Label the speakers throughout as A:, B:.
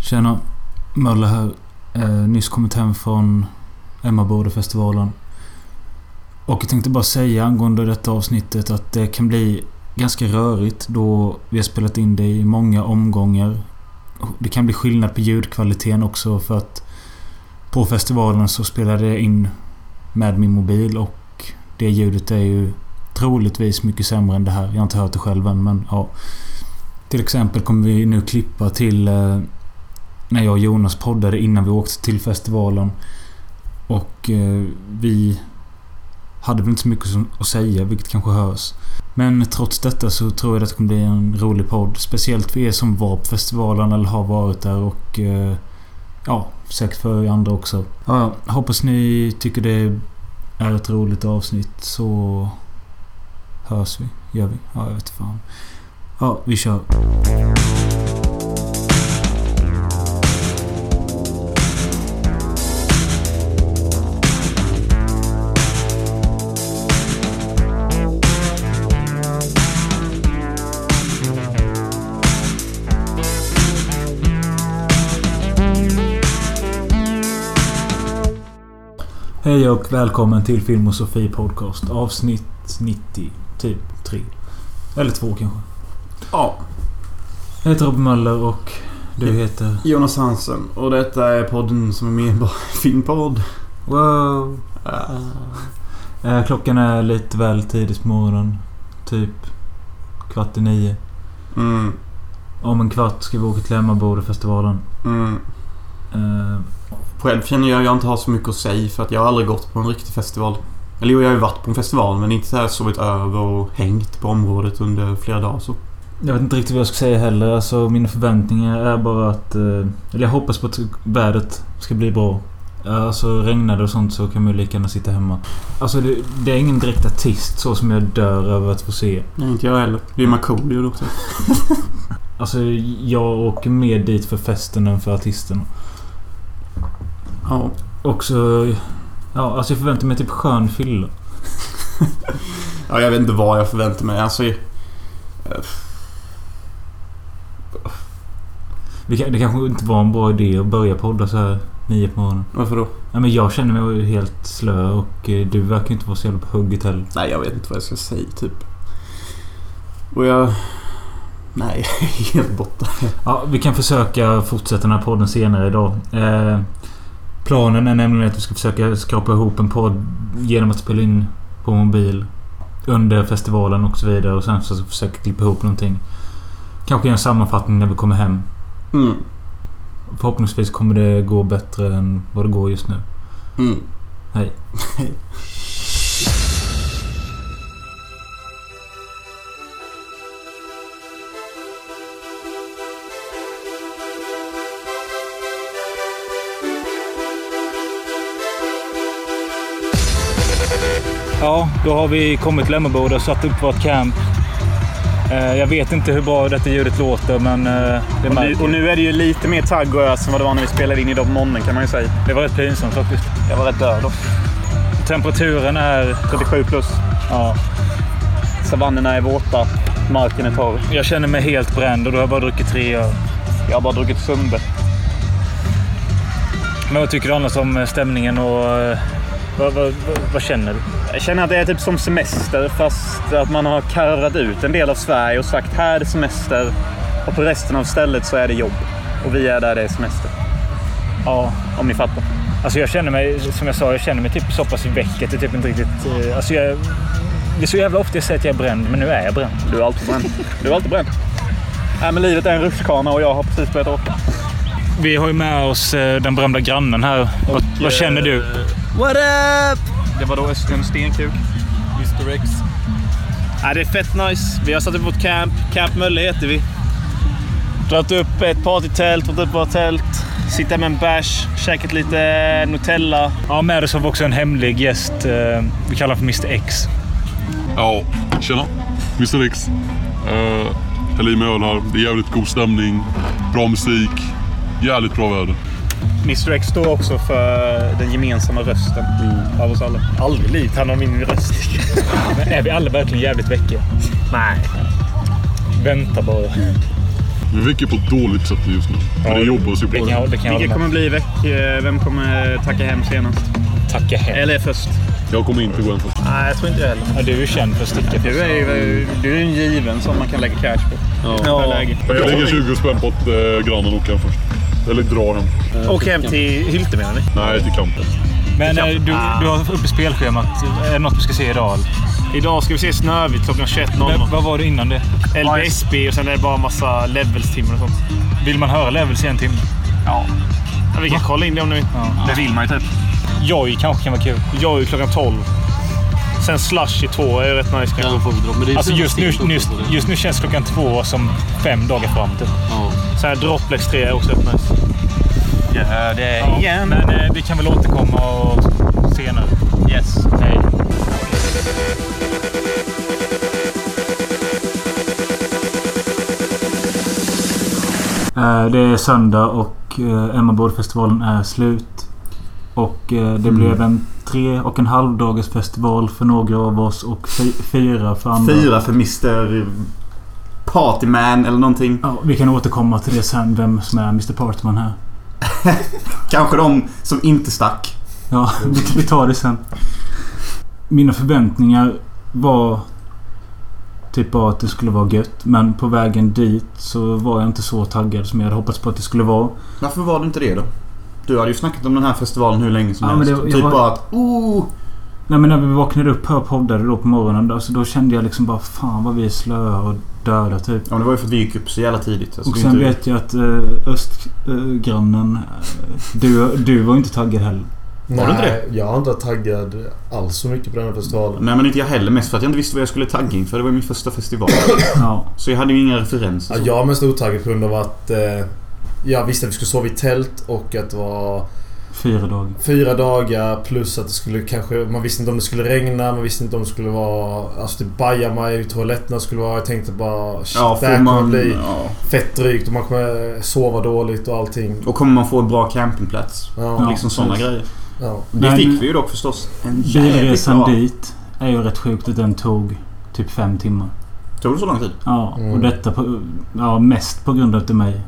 A: Tjena. Mölle här. Eh, nyss kommit hem från Emmaboda-festivalen. Och jag tänkte bara säga angående detta avsnittet att det kan bli ganska rörigt då vi har spelat in det i många omgångar. Det kan bli skillnad på ljudkvaliteten också för att på festivalen så spelade jag in med min mobil och det ljudet är ju troligtvis mycket sämre än det här. Jag har inte hört det själv än men ja. Till exempel kommer vi nu klippa till eh, när jag och Jonas poddade innan vi åkte till festivalen. Och eh, vi hade väl inte så mycket som- att säga, vilket kanske hörs. Men trots detta så tror jag att det kommer bli en rolig podd. Speciellt för er som var på festivalen eller har varit där och... eh, Ja, säkert för er andra också. Ja, ja, hoppas ni tycker det är ett roligt avsnitt så... Hörs vi? Gör vi? Ja, jag vet fan. Ja, vi kör. Hej och välkommen till Film och Sofie Podcast. Avsnitt 90, typ 3. Eller 2 kanske.
B: Ja,
A: Jag heter Robin Möller och du heter...
B: Jonas Hansen och detta är podden som är mer bara en filmpodd.
A: Wow! Eh, klockan är lite väl tidigt på morgonen. Typ kvart i nio.
B: Mm,
A: Om en kvart ska vi åka till Emmabodafestivalen.
B: mm.
A: Eh,
B: Själv känner jag att jag inte har så mycket att säga för att jag har aldrig gått på en riktig festival. Eller jo, jag har ju varit på en festival men inte så här sovit över och hängt på området under flera dagar så.
A: jag vet inte riktigt vad jag ska säga heller. Alltså mina förväntningar är bara att... Eh, eller jag hoppas på att vädret ska bli bra. Eh, Alltså regnar det och sånt så kan man ju lika gärna sitta hemma. Alltså det, det är ingen direkt artist så som jag dör över att få se.
B: Nej, inte jag heller. Det är ju Markoolio också.
A: Alltså jag åker mer dit för festen än för artisten.
B: Ja.
A: Också... Ja, alltså jag förväntar mig typ skön fylla.
B: ja, jag vet inte vad jag förväntar mig. Alltså... eh,
A: Vi kan- Det kanske inte var en bra idé att börja podda så här nio på morgonen.
B: Varför då?
A: Nej, men jag känner mig helt slö och eh, du verkar inte vara så jävla på hugget heller.
B: Nej, jag vet inte vad jag ska säga typ. Och jag... Nej, jag är helt borta.
A: Ja, vi kan försöka fortsätta den här podden senare idag. Eh, planen är nämligen att vi ska försöka skrapa ihop en podd genom att spela in på mobil. Under festivalen och så vidare och sen så försöka klippa ihop någonting. Kanske göra en sammanfattning när vi kommer hem.
B: Mm.
A: Förhoppningsvis kommer det gå bättre än vad det går just nu.
B: Mm.
A: Hej.
B: Hej.
A: Ja, då har vi kommit till Emmaboda och satt upp vårt camp. Eh, jag vet inte hur bra detta ljudet låter, men eh, det
C: Och nu,
A: märker-
C: och nu är det ju lite mer tagg och ös än vad det var när vi spelade in idag på morgonen kan man ju säga.
A: Det var rätt pinsamt faktiskt.
C: Jag var rätt död då.
A: Temperaturen är...
C: 37 plus.
A: Ja,
C: Savannerna är våta. Marken är torr.
A: jag känner mig helt bränd och då har jag bara druckit tre öl.
C: Jag har bara druckit Sundbe.
A: Men vad tycker du annars om stämningen och... eh, Vad, vad, vad, vad känner du?
C: Jag känner att det är typ som semester fast att man har karrat ut en del av Sverige och sagt här är det semester och på resten av stället så är det jobb. Och vi är där det är semester.
A: Ja,
C: Om ni fattar.
A: Alltså jag känner mig, som jag sa, jag känner mig typ så pass väck att jag typ inte riktigt... Eh, alltså jag, det är så jävla ofta jag säger att jag är bränd, men nu är jag bränd.
C: Du är alltid bränd. Du är alltid bränd. Nej men livet är en rutschkana och jag har precis börjat åka.
A: Vi har ju med oss eh, den berömda grannen här. vad, vad
D: eh,
E: Eh,
A: känner du?
C: What up? Det var då Östen Stenkuk.
E: Mr X. Ja, det är fett nice. Vi har satt upp vårt camp. Camp Mölle heter vi. Dragit upp ett partytält, fått upp våra tält. Sitta med en bärs, käkat lite Nutella.
A: Ja, med oss har vi också en hemlig gäst. Eh, vi kallar honom för Mr X.
F: Ja, tjena. Mr X. Uh, häll i mig öl här. Det är jävligt god stämning, bra musik, jävligt bra väder.
C: Mr X står också för den gemensamma rösten av oss alla.
E: Mm. Aldrig likt han har min röst.
A: Men är vi alla verkligen jävligt väckiga?
E: Nej.
A: Vänta bara.
F: Vi viker på ett dåligt sätt just nu. Men det jobbar sig på.
D: Det kan jag, det kan jag
C: Vilka
D: hålla
C: kommer
D: med.
C: bli veck? eh, Vem kommer tacka hem senast?
D: Tacka hem.
C: Eller först?
F: Jag kommer inte gå en först.
C: Nej, jag tror inte jag heller.
D: Ja, Du är ju känd för att sticka
C: Du är ju du är en given som man kan lägga cash på. Ja. Läge.
F: Jag lägger 20 spänn på att eh, grannen åker först. Eller drar den.
C: Och hem till Hylte menar ni?
F: Nej, till kampen.
D: Men eh, du, du
A: Ah.
D: har uppe spelschemat. Är det något vi ska se idag? eller?
E: Idag ska vi se Snövit klockan
D: Men
E: 21.00.
D: Vad var det innan det?
E: LBSB och sen är det bara massa levels-timmar och sånt.
D: Vill man höra Levels i en timme?
E: Ja, vi kan kolla in det om ni vill.
C: Det vill man ju typ.
D: Joj kanske kan vara kul.
E: Jag är ju klockan 12. Sen Slush i två är ju rätt nice kanske.
G: Ja, de får drop. Men det är
D: Alltså
G: så
D: just nu,
G: sent
D: just,
G: också, det.
D: just nu känns klockan två som fem dagar fram typ. till.
G: Ja.
E: Sen är Droplex 3 är också rätt nice.
C: Gör det
D: Ja, men eh, vi kan väl återkomma och senare.
C: Yes.
D: Hej.
A: Eh, Det är söndag och eh, Emma Board-festivalen är slut. Och eh, det blev en tre och en halv dagars festival för några av oss och fy- fyra för andra.
B: Fyra för Mr... Partyman eller någonting.
A: Ja, vi kan återkomma till det sen, vem som är Mr Partman här.
B: Kanske de som inte stack.
A: Ja, vi- vi tar det sen. Mina förväntningar var typ bara att det skulle vara gött. Men på vägen dit så var jag inte så taggad som jag hade hoppats på att det skulle vara.
B: Varför var du inte det då? Du hade ju snackat om den här festivalen hur länge som
A: Ja,
B: helst.
A: men det- jag
B: typ
A: var-
B: bara att oh,
A: Nej men när vi vaknade upp här och poddade då på morgonen då, så då kände jag liksom bara fan vad vi är slöa och döda typ.
B: Ja, men det var ju för att vi gick upp så jävla tidigt. Alltså,
A: Och
B: det är
A: sen
B: inte-
A: vet jag att eh, östgrannen... Eh, du, du var inte taggad heller.
H: Nej,
B: du inte
H: jag har inte varit taggad alls så mycket på den här festivalen.
B: Nej men inte jag heller. Mest för att jag inte visste vad jag skulle tagga inför. Det var ju min första festival.
A: Ja.
B: så jag hade ju inga referenser.
H: Ja, jag är mest otaggad på grund av att eh, jag visste att vi skulle sova i tält och att det var
A: Fyra dagar.
H: fyra dagar plus att det skulle kanske... Man visste inte om det skulle regna, man visste inte om det skulle vara... Alltså typ bajamaj i toaletterna skulle vara. Jag tänkte bara shit,
B: Ja,
H: det här
B: får
H: kommer
B: man...
H: bli
B: Ja.
H: fett drygt och man kommer sova dåligt och allting.
B: Och kommer man få en bra campingplats?
H: Ja,
B: liksom sådana grejer.
H: ja.
A: Men-
B: Det fick vi ju dock förstås. En jävligt
A: Bilresan
B: bra.
A: dit är ju rätt sjukt att den tog typ fem timmar.
B: Tog det så lång tid?
A: Ja,
H: Mm.
A: och detta på, ja, mest på grund av till mig.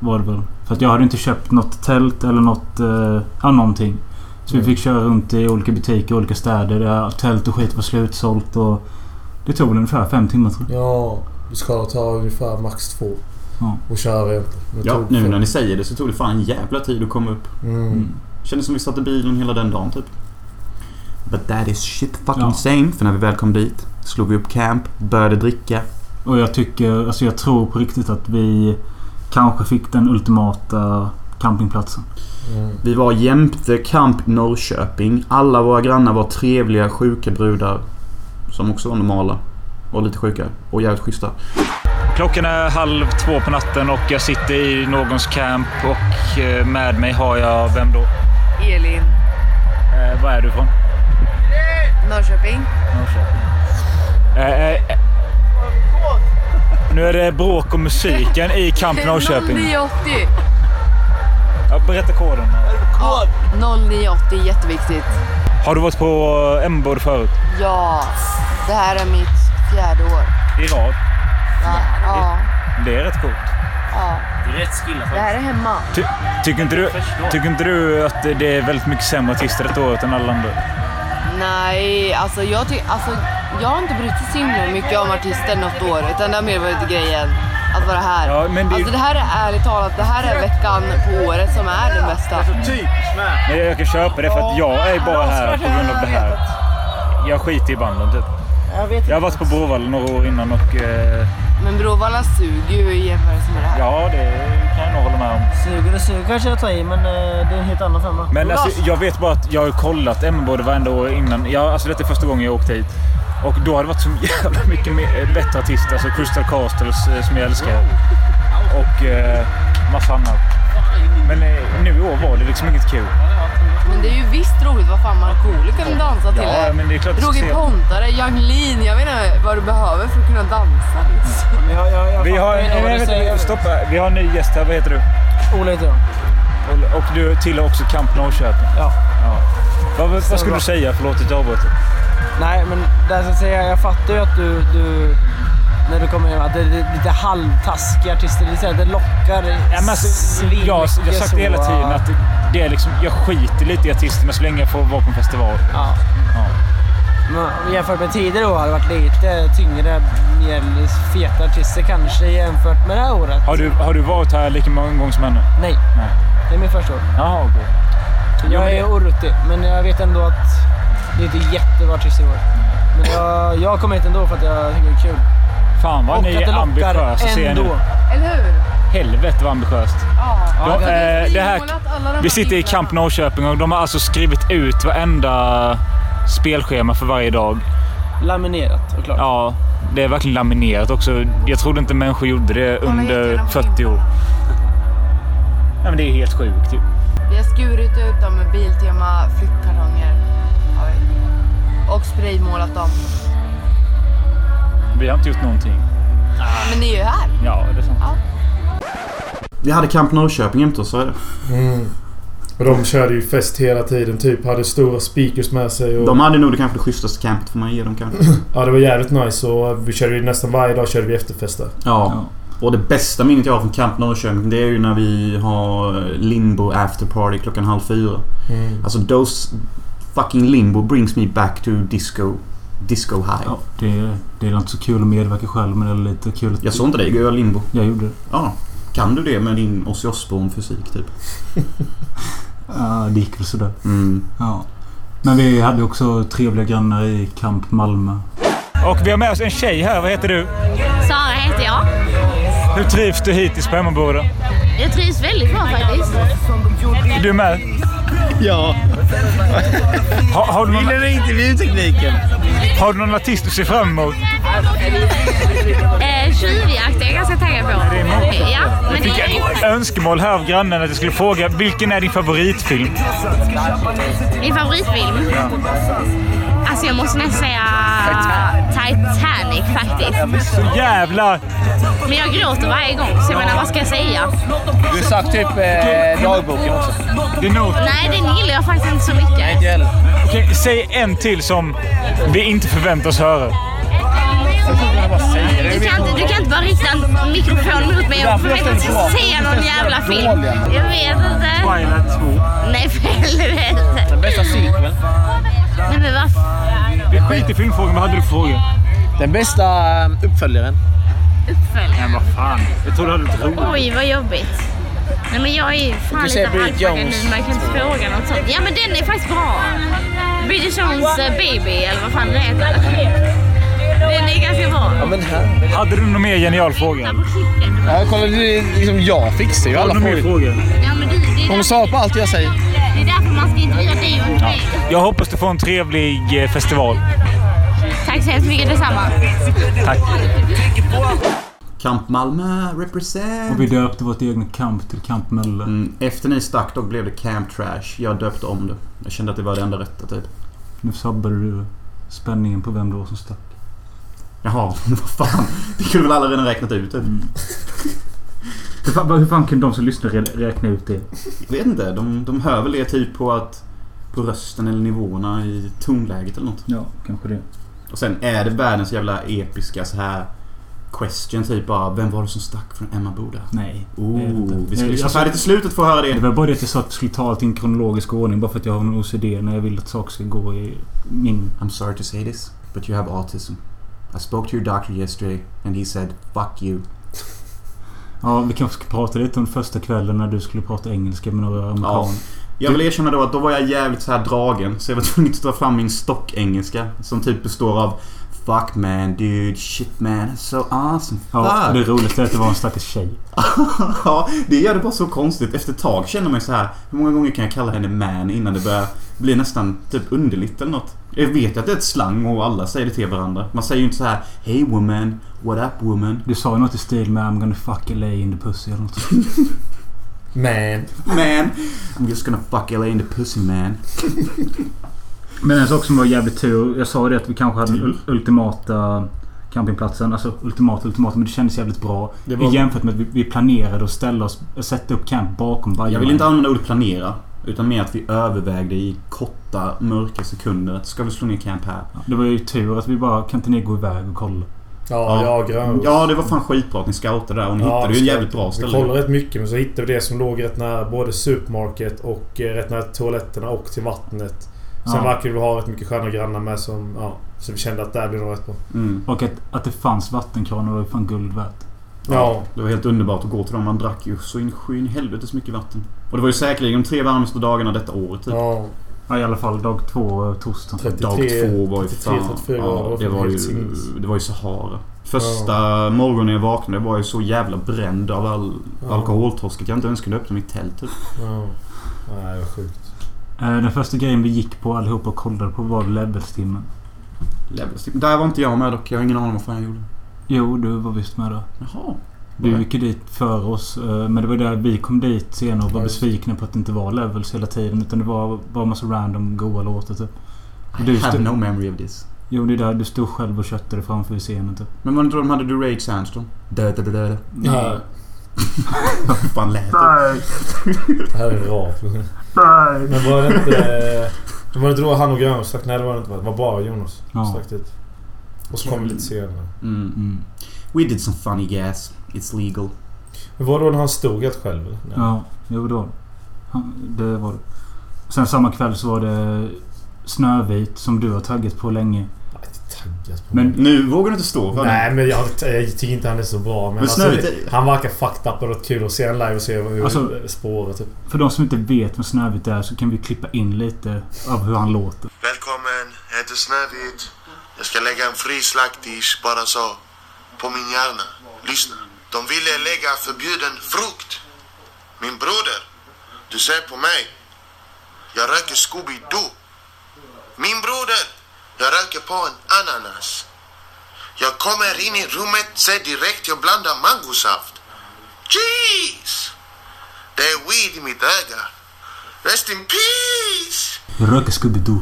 A: Var det väl. För att jag hade inte köpt något tält eller något... Eh, ja, någonting. Så vi
H: Mm.
A: fick köra runt i olika butiker i olika städer. Där tält och skit var slutsålt och... Det tog väl ungefär fem timmar tror jag.
H: Ja, det ska ta ungefär max två.
A: Ja.
H: Och köra egentligen. Men det
B: Ja,
H: tog
B: nu
H: fem.
B: när ni säger det så tog det fan en jävla tid att komma upp.
H: Mm.
B: Kändes som vi satt i bilen hela den dagen typ. But that is shit fucking
A: Ja.
B: same. För när vi väl kom dit slog vi upp camp, började dricka.
A: Och jag tycker... Alltså jag tror på riktigt att vi kanske fick den ultimata campingplatsen.
H: Mm.
B: Vi var jämte Camp Norrköping. Alla våra grannar var trevliga, sjuka brudar. Som också var normala. Och lite sjuka. Och jävligt schyssta.
D: Klockan är halv två på natten och jag sitter i någons camp och eh, med mig har jag, vem då?
I: Elin,
D: Eh, var är du ifrån?
I: Norrköping.
D: Eh, eh, nu är det bråk om musiken i Camp Norrköping.
I: 0980.
D: Ja, berätta koden.
I: Ja, 0980, jätteviktigt.
D: Har du varit på M-bord förut?
I: Ja, det här är mitt fjärde år.
D: I rad.
I: Ja, ja,
D: Det är rätt coolt.
I: ja.
E: Rätt skilla
I: Det här är hemma.
D: Ty, tycker, inte du, tycker inte du att det är väldigt mycket sämre artister detta året än alla andra?
I: Nej, alltså jag, ty- alltså jag har inte brytt mig så himla mycket om artister något år. Utan det har mer varit grejen att vara här.
D: Ja, men det-
I: Alltså det här är ärligt talat, det här är veckan på året som är den bästa.
D: Men jag kan köpa det för att jag är bara här på grund av det här. Jag skiter i banden typ. Jag, har varit på Bråvalla några år innan och eh,
I: Men Bråvalla suger ju i jämförelse med det här.
D: ja, det kan jag nog hålla med om.
J: Suger och suger kanske jag tar i, men eh, det är en helt annan femma.
D: Men alltså, jag vet bara att jag har kollat Emmaboda varenda år innan. Jag, alltså, detta är första gången jag åkte hit. Och då har det varit så jävla mycket mer, bättre artister. Alltså Crystal Castles eh, som jag älskar. Och eh, massa annat. Men eh, nu i år var det liksom inget kul.
I: Men det är ju visst roligt vad fan Markoolio kunde dansa till.
D: Ja, men det är klart att
I: Roger
D: se.
I: Pontare, Jacqueline, jag vet inte vad du behöver för att kunna dansa. liksom.
J: Jag, jag, jag
D: Vi har,
J: fattar inte
D: nej,
J: vad du
D: nej,
J: säger.
D: vänta, stoppa. Vi har en ny gäst här. Vad heter du?
J: Ola heter jag.
D: Och, och du tillhör också Camp Norrköping.
J: Ja.
D: Vad, vad vad skulle
J: bra.
D: du säga? Förlåt att jag avbröt dig.
J: Nej, men det jag ska säga, jag fattar ju att du, du När du kommer hem, att det är lite halvtaskiga artister. Det, är så här, det lockar
D: Ja, men alltså, jag, jag har
J: svinmycket
D: sagt det hela
J: så,
D: tiden att det är liksom, jag skiter lite i artisterna så länge jag får vara på en festival.
J: Ja. Men jämfört med tidigare år har det varit lite tyngre, mer feta artister kanske jämfört med det här året.
D: Har, du, har du varit här lika många gånger som henne?
J: Nej,
D: Nej.
J: det är min första år.
D: Jaha, okej.
J: Jag är oruttig, men jag vet ändå att det är inte jättebra artister i år. Men jag, jag kommer hit ändå för att jag tycker det är kul.
D: Fan vad
J: Och
D: ni
J: att det
D: är
J: lockar
D: ambitiösa ser jag nu.
J: ändå.
I: Eller hur?
D: Helvete vad ambitiöst.
I: Ja.
D: Ja,
I: Vi har
D: eh, det här-
I: renmålat alla de här
D: Vi sitter i
I: vinklarna.
D: Camp Norrköping och de har alltså skrivit ut varenda spelschema för varje dag.
J: Laminerat och klart.
D: Ja, det är verkligen laminerat också. Jag trodde inte människor gjorde det
I: Kolla
D: under
I: jäklarna på
D: 40 år.
I: vinkarna.
D: Ja, men det är helt sjukt typ. ju.
I: Vi har skurit ut dem med Biltema flyttkartonger. Har vi. Och spraymålat dem.
D: Vi har inte gjort någonting.
I: Men ni är ju här.
D: Ja, det är sant.
B: Vi hade Camp Norrköping jämte oss, så är det.
H: Mm. Och de körde ju fest hela tiden. Typ hade stora speakers med sig. Och,
B: De hade nog det kanske det schysstaste campet får man ge dem kanske.
H: Ja, det var jävligt nice. Och vi körde ju nästan varje dag körde vi efterfester.
B: Ja. Och det bästa minnet jag har från Camp Norrköping det är ju när vi har eh, limbo after party klockan halv fyra.
H: Mm.
B: Alltså those fucking limbo brings me back to disco. Disco high.
A: Ja, det, det är inte så kul att medverka själv men det är lite kul att
B: Jag såg inte dig göra limbo.
A: jag gjorde det.
B: Ja. Kan du det med din Ozzy Osbourne-fysik typ?
A: Ja, det gick väl sådär.
B: Mm.
A: Ja. Men vi hade också trevliga grannar i Camp Malmö.
D: Och vi har med oss en tjej här. Vad heter du?
G: Sara heter jag.
D: Hur trivs du hittills på hemmaboende?
G: Jag trivs väldigt bra faktiskt.
D: Du med?
E: Ja.
D: Ha, har, du någon,
E: Gillar intervjutekniken?
D: har du någon artist du ser fram emot?
G: Eh, Tjuvjakt är jag ganska taggad på. Ja, men det
D: Fick
G: är
D: jag önskemål här av grannen att jag skulle fråga vilken är din favoritfilm?
G: min favoritfilm. Alltså jag måste nästan säga Titanic faktiskt.
D: Så jävla...
G: Men jag gråter varje gång så jag menar vad ska jag säga?
E: Du sagt typ eh, dagboken också.
D: Det är nog...
G: Nej den gillar jag faktiskt inte så mycket.
E: Inte heller.
D: Okej, säg en till som vi inte förväntar oss höra.
G: Du kan, inte, du kan inte bara rikta en mikrofon mot mig och förvänta att jag ska säga någon jävla film. Jag vet inte.
D: Twilight 2.
G: Nej för helvete.
E: Bästa sequel.
G: Nej men vad
D: Vi skiter i filmfrågan. Vad hade du för fråga?
E: Den bästa eh, uppföljaren.
G: uppföljare.
D: Vad fan. Jag trodde du hade lite roligt.
G: Oj, vad jobbigt. Nej, men jag är fan
E: Du
G: lite
E: säger Bridget
G: halvpackad nu.
E: Jones.
G: Man kan inte fråga något sånt. Ja, men den är faktiskt bra. Bridget Jones eh, Baby, eller vad fan den heter. Den är ganska bra.
E: Ja men här.
D: Hade du någon mer genial
G: Titta
D: fråga?
G: på klippen.
E: Ja, kolla, det är liksom jag fixar ju alla
D: Någon mer
E: frågor.
D: fråga?
G: Ja, men du, det är
E: Hon
G: därför-
E: svarar på allt jag säger.
G: Det är därför man ska intervjua dig och inte mig.
D: Jag hoppas du får en trevlig eh, festival.
G: Tack så hemskt mycket, detsamma.
D: Tack.
B: Camp Malmö represent.
A: Och vi döpte vårt egna camp till Camp Mölle.
B: Mm, efter ni stack då blev det Camp Trash. Jag döpte om det. Jag kände att det var det enda rätta typ.
A: Nu sabbade du spänningen på vem det var som stack.
B: Jaha, vad fan. Det kunde väl alla redan räknat ut typ.
A: Mm. Hur fan, hur fan kunde de som lyssnar re- räkna ut det?
B: Jag vet inte. De, de hör väl det typ på att... På rösten eller nivåerna i tonläget eller något.
A: Ja, kanske det.
B: Och sen är det världens jävla episka så här question typ bara. Vem var det som stack från Emma Boda?
A: Nej. det är det inte.
B: Oh, vi ska
A: Nej,
B: lyssna
A: alltså-
B: färdigt i slutet för att höra
A: Det
B: det.
A: var bara det att jag sa att vi skulle ta allting i kronologisk ordning bara för att jag har en OCD när jag vill att saker ska gå i min...
B: I'm sorry to say this, but you have autism. I spoke to your doctor yesterday and he said fuck you.
A: Ja, vi kanske ska prata lite om första kvällen när du skulle prata engelska med några amerikaner.
B: Jag vill erkänna då att då var jag jävligt så här dragen så jag var tvungen att ta fram min stockengelska som typ består av Fuck man dude, shit man, that's so awesome, fuck.
A: Ja, Ah.
B: Ja,
A: och det roligaste är att det var en stackars tjej.
B: det gör det bara så konstigt. Efter ett tag känner man ju så här hur många gånger kan jag kalla henne man innan det börjar bli nästan typ underligt eller något. Jag vet ju att det är ett slang och alla säger det till varandra. Man säger ju inte så här Hey woman, what up woman?
A: Du sa ju något i stil med I'm gonna fuck LA in the pussy eller något. sånt.
H: Man.
B: Man, I'm just gonna fuck LA in the pussy man.
A: Men en sak som var jävligt tur. Jag sa det att vi kanske hade den
B: Mm.
A: ul- ultimata campingplatsen. Alltså ultimata, ultimata. Men det kändes jävligt bra.
B: Det var-
A: Jämfört med att vi, vi planerade att ställa oss, att sätta upp camp bakom Bajen.
B: Jag vill inte använda ordet planera. Utan mer att vi övervägde i korta, mörka sekunder att ska vi slå ner camp här?
A: Det var ju tur att vi bara kan inte ni gå iväg och kolla.
H: Ja, ja, Grönros.
B: Ja, det var fan skitbra att ni scoutade där och ni hittade ju
H: vi
B: en
H: ska-
B: jävligt bra ställe.
H: Vi kollade rätt mycket men så hittade vi det som låg rätt nära både supermarket och eh, rätt nära toaletterna och till vattnet. Sen
A: Ja.
H: verkar vi ha rätt mycket sköna grannar med som... Ja, så vi kände att där blir nog rätt bra.
B: Mm.
A: Och att, att det fanns vattenkranar var ju fan guld värt.
H: Ja.
B: Det var helt underbart att gå till dem. Man drack ju så in skyn helvetes mycket vatten. Och det var ju säkerligen de tre varmaste dagarna detta året typ.
H: Ja.
A: Ja, i alla fall dag två, eh, torsdagen.
H: 33,
B: Dag två var ju
H: 33,
B: fan...
H: 34 grader
B: Ja,
H: var
B: det, var
H: helt
B: ju,
H: sinnes.
B: det var ju Sahara. Första morgonen jag vaknade var jag så jävla bränd av all
H: Ja.
B: alkoholtorsk att jag inte ens kunde öppna mitt tält. Typ.
H: ja. Nej, vad sjukt.
A: Eh, Den första grejen vi gick på allihopa och kollade på var levelstimmen.
B: Levels. Där var inte jag med dock. Jag har ingen aning om vad fan jag gjorde.
A: Jo, du var visst med då.
B: Jaha.
A: Du gick ju dit för oss. eh, Men det var där vi kom dit senare och var
H: Ja, just det.
A: besvikna på att det inte var levels hela tiden. Utan det var bara massa random goa låtar typ. Och
B: I
A: du
B: have
A: stod-
B: no memory of this.
A: Jo, det är där du stod själv och köttade framför scenen typ.
B: Men var det inte då de hade Durage Sandstorm? Dö, dö, dö, dö, dö.
H: Nej.
B: Vad fan lät det?
H: Det här är rap. Men var det inte... Men var det inte då han och Grönros stack? Nej, det var det inte. va? Det var bara Jonas som
A: Ja.
H: stack dit. Och så kom vi lite senare.
B: Mm.
A: Mm.
B: We did some funny gas. It's legal.
H: Men var det då när han stod helt själv? eller? Nej.
A: Ja, jo det var det. Han- Det var det. Sen samma kväll så var det Snövit som du har taggat på länge.
H: Nej, det taggas på.
A: Men
B: Nu vågar du inte stå för
H: Nej men jag, jag tycker inte han är så bra. Men,
B: Men
H: alltså,
B: Snövit
H: det- han verkar fucked up och rätt kul att se en live och se hur
A: Alltså-
H: spåret typ.
A: För de som inte vet vad Snövit är så kan vi klippa in lite av hur han låter.
K: Välkommen, jag heter Snövit. Jag ska lägga en fri slaktis, bara så. På min hjärna. Lyssna. De ville lägga förbjuden frukt. Min broder, du ser på mig. Jag röker Scooby-Doo. Min broder, jag röker på en ananas. Jag kommer in i rummet, ser direkt jag blandar mangosaft. Jeez! Det är weed i mitt öga. Rest in peace!
A: Jag röker Scooby-Doo.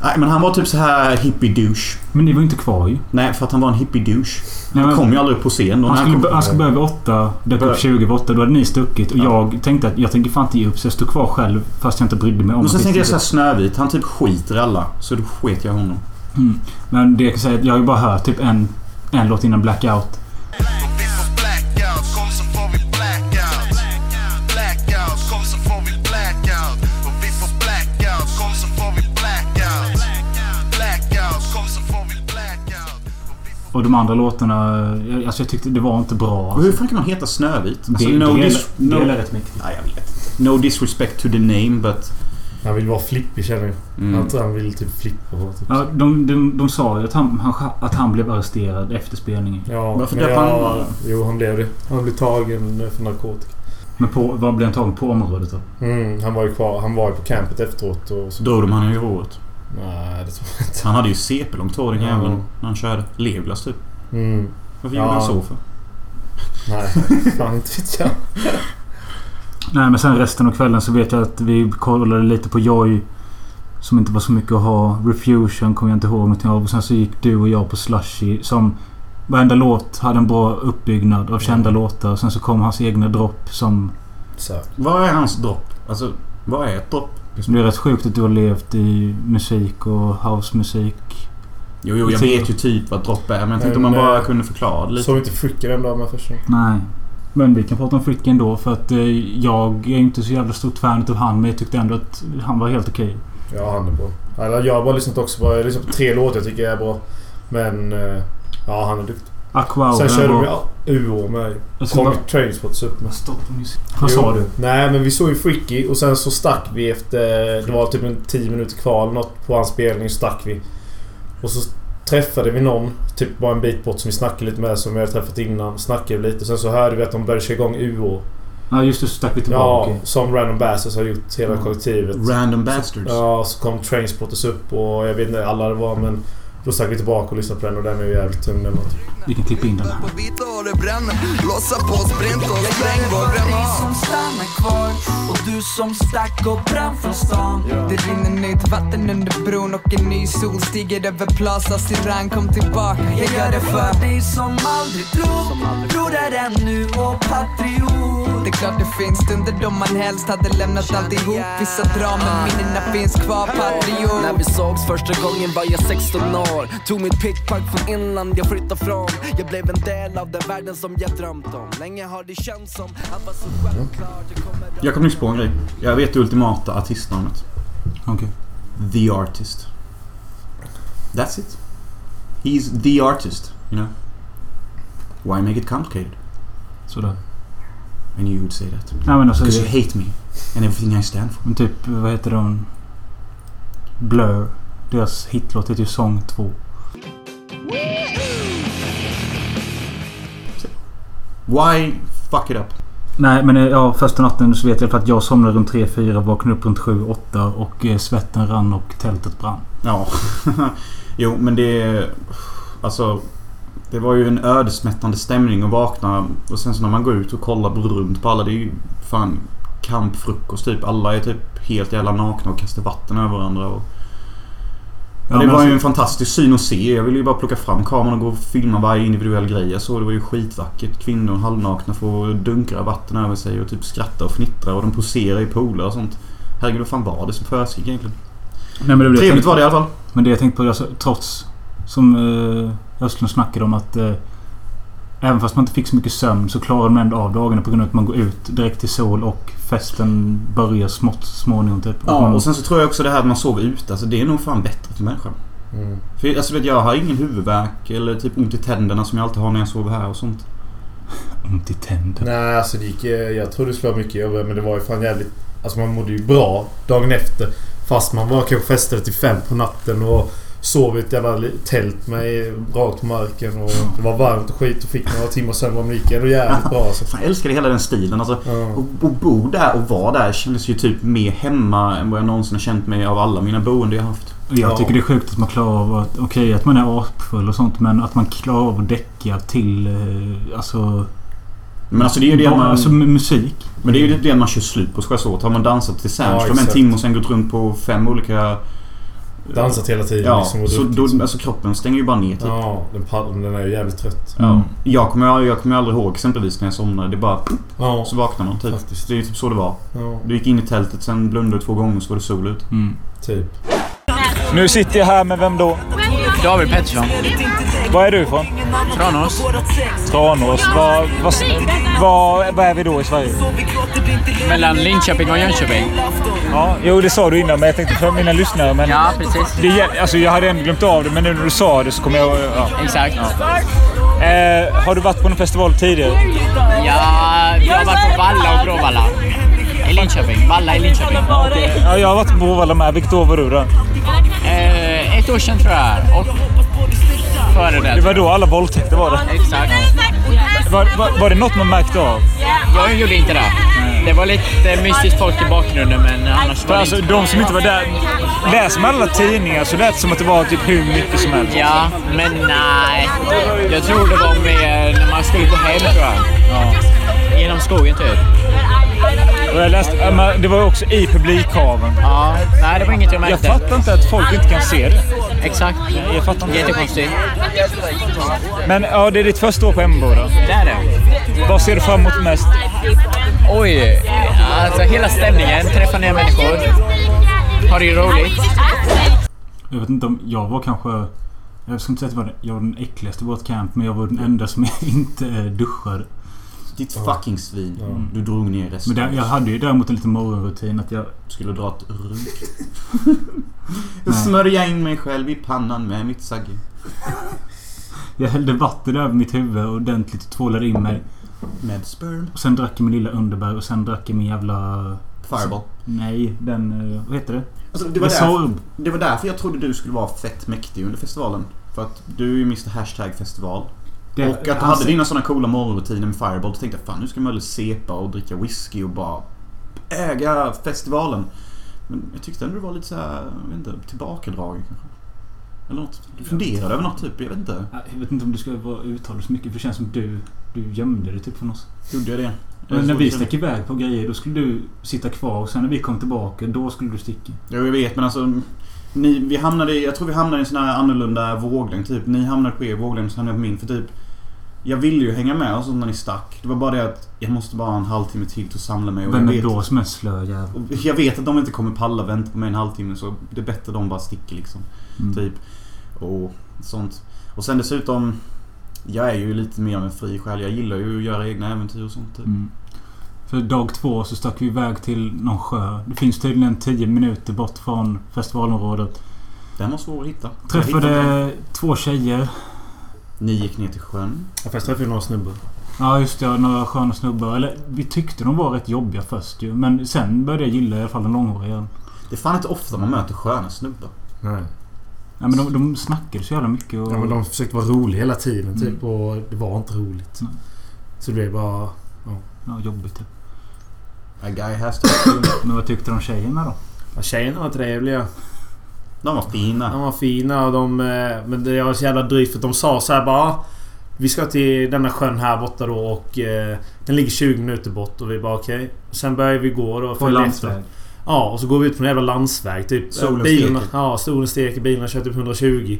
B: Nej, men han var typ så här hippie-douche.
A: Men ni var ju inte kvar ju.
B: Nej, för att han var en hippie-douche.
A: Nej,
B: Han
A: men-
B: kom ju aldrig upp på scen. då.
A: Han
B: När
A: skulle,
B: kom-
A: bör- han skulle börja vid åtta, dök
B: Börja.
A: upp 20 vid åtta. Då hade ni stuckit och jag tänkte att jag tänker fan inte ge upp så jag stod kvar själv fast jag inte brydde mig om
B: Men sen
A: att
B: tänkte jag
A: det-
B: såhär Snövit, han typ skiter i alla. Så då sket jag i honom.
A: Men det jag kan säga är att jag har ju bara hört typ en, en låt innan Blackout.
K: Om vi får blackouts, kom så får vi blackouts. Blackouts, kom så får vi blackout. Om vi får blackouts, kom så får vi blackouts. Blackouts, kom så får vi blackout.
A: Och de andra låtarna... jag- Alltså jag tyckte det var inte bra.
B: Och hur fan kan man heta Snövit? Alltså,
A: det,
B: no
A: det,
B: dis-
A: gäller- det
B: no-
A: gäller rätt mycket.
B: Nej, jag vet inte. No disrespect to the name, but...
H: Han vill vara flippig känner jag.
B: Mm.
H: Han, tror han vill typ flippa. på, Typ.
A: Ja, de, de, de sa ju att han, han, att han blev arresterad efter spelningen.
H: Ja,
B: Varför
H: men
B: döpte
H: jag-
B: han-
H: Jo, han blev det. Han blev tagen för narkotika.
A: Men på, vad blev han tagen på området då?
H: Mm, han var ju kvar. Han var ju på campet efteråt och så.
B: Så drog de han i håret.
H: Nej, det tror jag inte.
B: Han hade ju CP-långt hår den
H: Ja.
B: jäveln. När han körde. Legolas typ.
H: Mm,
B: Varför
H: Ja.
B: gjorde han så för?
H: nej, fan inte vet jag.
A: Nej men sen resten av kvällen så vet jag att vi kollade lite på Joy. Som inte var så mycket att ha. Refusion kommer jag inte ihåg någonting av. Och sen så gick du och jag på Slushy som... Varenda låt hade en bra uppbyggnad av kända låtar. Sen så kom hans egna dropp som...
H: Så.
B: Vad är hans dropp? Alltså, vad är ett dropp?
A: som det är rätt sjukt att du har levt i musik och housemusik.
B: Jo, jo, jag
A: Typ.
B: vet ju typ vad dropp är. Men jag tänkte om
H: Men,
B: man bara
H: eh,
B: kunde förklara det lite.
H: Såg inte Fricker den dagen med först?
A: Nej. Men vi kan prata om Frick ändå för att eh, jag är inte så jävla stort fan utav han men jag tyckte ändå att han var helt okej.
H: Ja, han är bra. Eller, jag har bara lyssnat också på, jag har lyssnat på tre låtar jag tycker är bra. Men... eh, Ja, han är duktig.
A: Aqua
H: Sen körde vi ja, UO med.
A: Jag ska
H: Kom
A: bara...
H: Trainspots upp med.
A: Stopp på musik. Alltså, Vad sa
H: Jo,
A: du?
H: Nej, men vi såg ju Freaky och sen så stack vi efter... Det var typ en 10 minuter kvar eller något på hans spelning så stack vi. Och så träffade vi någon, typ bara en bit bort som vi snackade lite med som vi hade träffat innan. Snackade vi lite och sen så hörde vi att de började köra igång UO.
A: Ja just det, så stack vi
H: Ja,
A: tillbaka.
H: som Random Bastards har gjort hela
A: Mm.
H: kollektivet.
B: Random bastards.
H: Ja, så kom Trainspotters upp och jag vet inte alla det var men... Då stack vi tillbaka och lyssnade på den och den är ju jävligt tung den låten.
A: Vi kan klippa in den här.
K: Vita och det bränner, låsa på sprint och spräng vår granat.
L: som stannar kvar och du som stack och brann från stan Det rinner nytt vatten under bron och en ny sol stiger över Plaza Siran kom tillbaka Jag gör det för dig som aldrig drog, broder ännu och patriot Det är klart det finns stunder då man helst hade lämnat alltihop Vissa drar men minnena finns kvar patriot
M: När vi sågs första gången var jag 16 år Tog mitt pickpack från inland jag flyttade från Jag blev en del av den världen som jag drömt om Länge har det känts som att vara så självklart Jag kommer
B: Jag kom nyss på en grej. Jag vet det ultimata artistnamnet. Okej. The Artist. That's it. He's the artist, you know. Why make it complicated?
A: Sådär.
B: And you would say that.
A: Nej, men alltså-
B: Because you hate me and everything I stand for.
A: Men typ, vad heter de? Blur. Deras hitlåt heter ju Song 2.
B: Why fuck it up?
A: Nej, men eh, ja, första natten så vet jag för att jag somnade runt 3-4, vaknade upp runt 7-8 och eh, svetten rann och tältet brann.
B: Ja. jo, men det... Alltså... Det var ju en ödesmättande stämning att vakna och sen så när man går ut och kollar runt på alla. Det är ju fan kampfrukost typ. Alla är typ helt jävla nakna och kastar vatten över varandra. Och...
A: Ja,
B: det
A: men
B: var ju
A: alltså-
B: en fantastisk syn att se. Jag ville ju bara plocka fram kameran och gå och filma varje individuell grej jag såg. Det var ju skitvackert. Kvinnor halvnakna får dunkra vatten över sig och typ skratta och fnittra och de poserar i pooler och sånt. Herregud, vad fan var det som försiggick egentligen?
A: Nej, men det blev
B: Trevligt var det i alla fall.
A: Men det jag tänkte på, alltså, trots som eh, Östlund snackade om att eh, även fast man inte fick så mycket sömn så klarar man ändå av dagarna på grund av att man går ut direkt till sol och festen börjar smått småningom typ.
B: Ja,
A: man,
B: och sen så tror jag också det här att man sover ute. Alltså det är nog fan bättre för människan.
A: Mm.
B: För alltså, vet, jag jag har ingen huvudvärk eller typ ont i tänderna som jag alltid har när jag sover här och sånt.
D: Mm,
A: Ont i tänderna?
H: Nej, alltså det gick... eh, Jag tror det skulle vara mycket jobbigare men det var ju fan jävligt... Alltså man mådde ju bra dagen efter. Fast man var kanske festade till fem på natten och sov i ett jävla li- tält med rakt på marken och det var varmt och skit och fick några timmar sen var man gick ändå jävligt bra alltså.
B: Fan, jag älskade hela den stilen. Alltså, och, och bo där och vara där kändes ju typ mer hemma än vad jag någonsin har känt mig av alla mina boende jag har haft.
A: Jag tycker det är sjukt att man klarar av att... Okej att man är apfull och sånt men att man klarar av att däcka till... Eh, alltså...
B: Men alltså det är ju det
A: Ja,
B: man...
A: Alltså med musik.
B: Men det är ju det man kör slut på ska jag så. Har man dansat till
A: Ja,
B: Sandström en
A: exakt.
B: timme och sen gått runt på fem olika...
H: Dansat hela tiden,
B: Ja,
H: liksom, och
B: så
H: druckit,
B: då,
H: liksom.
B: alltså kroppen stänger ju bara ner typ.
H: Ja, den, pall- den är ju jävligt trött.
A: Mm.
B: Ja. Jag kommer, jag kommer aldrig ihåg exempelvis när jag somnade. Det bara...
H: Ja.
B: Så vaknar man typ. Det är typ så det var.
H: Ja.
B: Du gick in i tältet, sen blundade du två gånger så var det sol ut.
A: Mm.
H: Typ.
D: Nu sitter jag här med vem då?
N: David Pettersson.
D: Var är du ifrån?
N: Tranås.
D: Tranås. Var, var, var, var är vi då i Sverige?
N: Mellan Linköping och Jönköping.
D: Ja, jo, det sa du innan, men jag tänkte för mina lyssnare. Men ja,
N: precis.
D: Det, gäll- alltså, jag hade ändå glömt av det, men nu när du sa det så kommer jag... Ja.
N: Exakt.
D: Ja. Eh, har du varit på någon festival tidigare?
N: Ja, vi har varit på Valla och Bråvalla. I Linköping. Valla i Linköping.
D: Ja, jag har varit på Bråvalla med. Vilket år var du då?
N: Eh, ett år sedan tror jag. Och före det.
D: Det var då alla våldtäkter var det.
N: Exakt.
D: Var, var, var det något man märkte av?
N: Jag gjorde inte det. Det var lite mystiskt folk i bakgrunden men annars
D: För
N: var det
D: alltså,
N: inte.
D: de som inte var där. Läser man alla tidningar så lät det som att det var typ hur mycket som helst.
N: Ja, men nej. Jag tror det var mer när man skulle gå hem tror jag. Genom skogen typ.
D: Och jag läste, ja, men det var ju också i publikhaven.
N: Ja, nej det var inget jag märkte.
D: Jag fattar inte att folk inte kan se det.
N: Exakt. typ-
D: Jag fattar inte.
N: Jättekonstigt.
D: Men ja, det är ditt första år på MB då?
N: Det är det.
D: Vad ser du fram emot mest?
N: Oj, alltså hela stämningen, träffa nya människor. Har det ju roligt.
A: Jag vet inte om jag var kanske... Jag ska inte säga att jag var den- jag var den äckligaste i vårt camp men jag var den enda som inte eh, duschade.
B: Ditt fucking svin. Du drog ner resten.
A: Men där, jag hade ju däremot en liten morgonrutin att jag...
B: Skulle dra ett runk. Jag smörjade in mig själv i pannan med mitt sagge.
A: Jag hällde vatten över mitt huvud ordentligt och tvålade in mig.
B: Med sperm.
A: Och sen drack jag min lilla underbär och sen drack jag min jävla...
B: Fireball.
A: Nej, den... eh, Vad heter det?
B: Alltså, det, var
A: Resorb.
B: därför, det var därför jag trodde du skulle vara fett mäktig under festivalen. För att du är ju Mr Hashtag festival.
A: Det-
B: och att du
A: alltså-
B: hade dina såna coola morgonrutiner med Fireball. Då tänkte jag fan nu ska man väl sepa och dricka whisky och bara äga festivalen. Men jag tyckte ändå du var lite såhär, jag vet inte, tillbakadragen kanske. Eller något. Du funderade över något typ, jag vet inte.
A: Jag vet inte om du ska vara uttala så mycket för det känns som du... Du gömde dig typ från oss.
B: Gjorde jag det?
A: Men när vi stack iväg på grejer då skulle du sitta kvar och sen när vi kom tillbaka då skulle du sticka.
B: Jo, jag vet men alltså... Ni, vi hamnade, i- jag tror vi hamnade i en sån här annorlunda våglängd typ. Ni hamnade på er våglängd så hamnade jag på min. För typ... Jag ville ju hänga med och sånt när ni stack. Det var bara det att jag måste bara ha en halvtimme till till att samla mig. Och
A: Vem
B: jag
A: är
B: vet-
A: då som är slö jävel?
B: och Jag vet att de inte kommer palla och vänta på mig en halvtimme så det är bättre de bara sticker liksom.
A: Mm.
B: Typ. Och sånt. Och sen dessutom. Jag är ju lite mer av en fri själ. Jag gillar ju att göra egna äventyr och sånt. Typ.
A: Mm. För dag två så stack vi iväg till någon sjö. Det finns tydligen 10 minuter bort från festivalområdet.
B: Den var svår att hitta. Jag hittade
A: Träffade två tjejer.
B: Ni gick ner till sjön.
H: Ja, fast träffade ju några snubbar.
A: Ja just det, några sköna snubbar. Eller vi tyckte de var rätt jobbiga först ju. Men sen började jag gilla i alla fall den långhåriga igen.
B: Det är fan inte ofta man möter sköna snubbar.
H: Nej.
A: Nej men de, de snackade så jävla mycket och...
H: Ja, men de försökte vara roliga hela tiden typ
A: Mm.
H: och det var inte roligt.
A: Nej.
H: Så det blev bara... Ja.
A: Ja, jobbigt.
B: A guy has to be cool.
A: Men vad tyckte de om tjejerna då?
H: Ja, tjejerna var trevliga.
B: De var fina.
H: De var fina och de... eh, Men det var så jävla drygt för att de sa så här bara... "Ah, Vi ska till denna sjön här borta då och eh, den ligger 20 minuter bort och vi bara okej. Sen börjar vi gå då.
A: På
H: följa
A: landsväg.
H: efter. Ja, och så går vi ut på en jävla landsväg. Typ.
A: Solen
H: bilarna,
A: steker.
H: Ja, solen steker. Bilarna kör typ 120.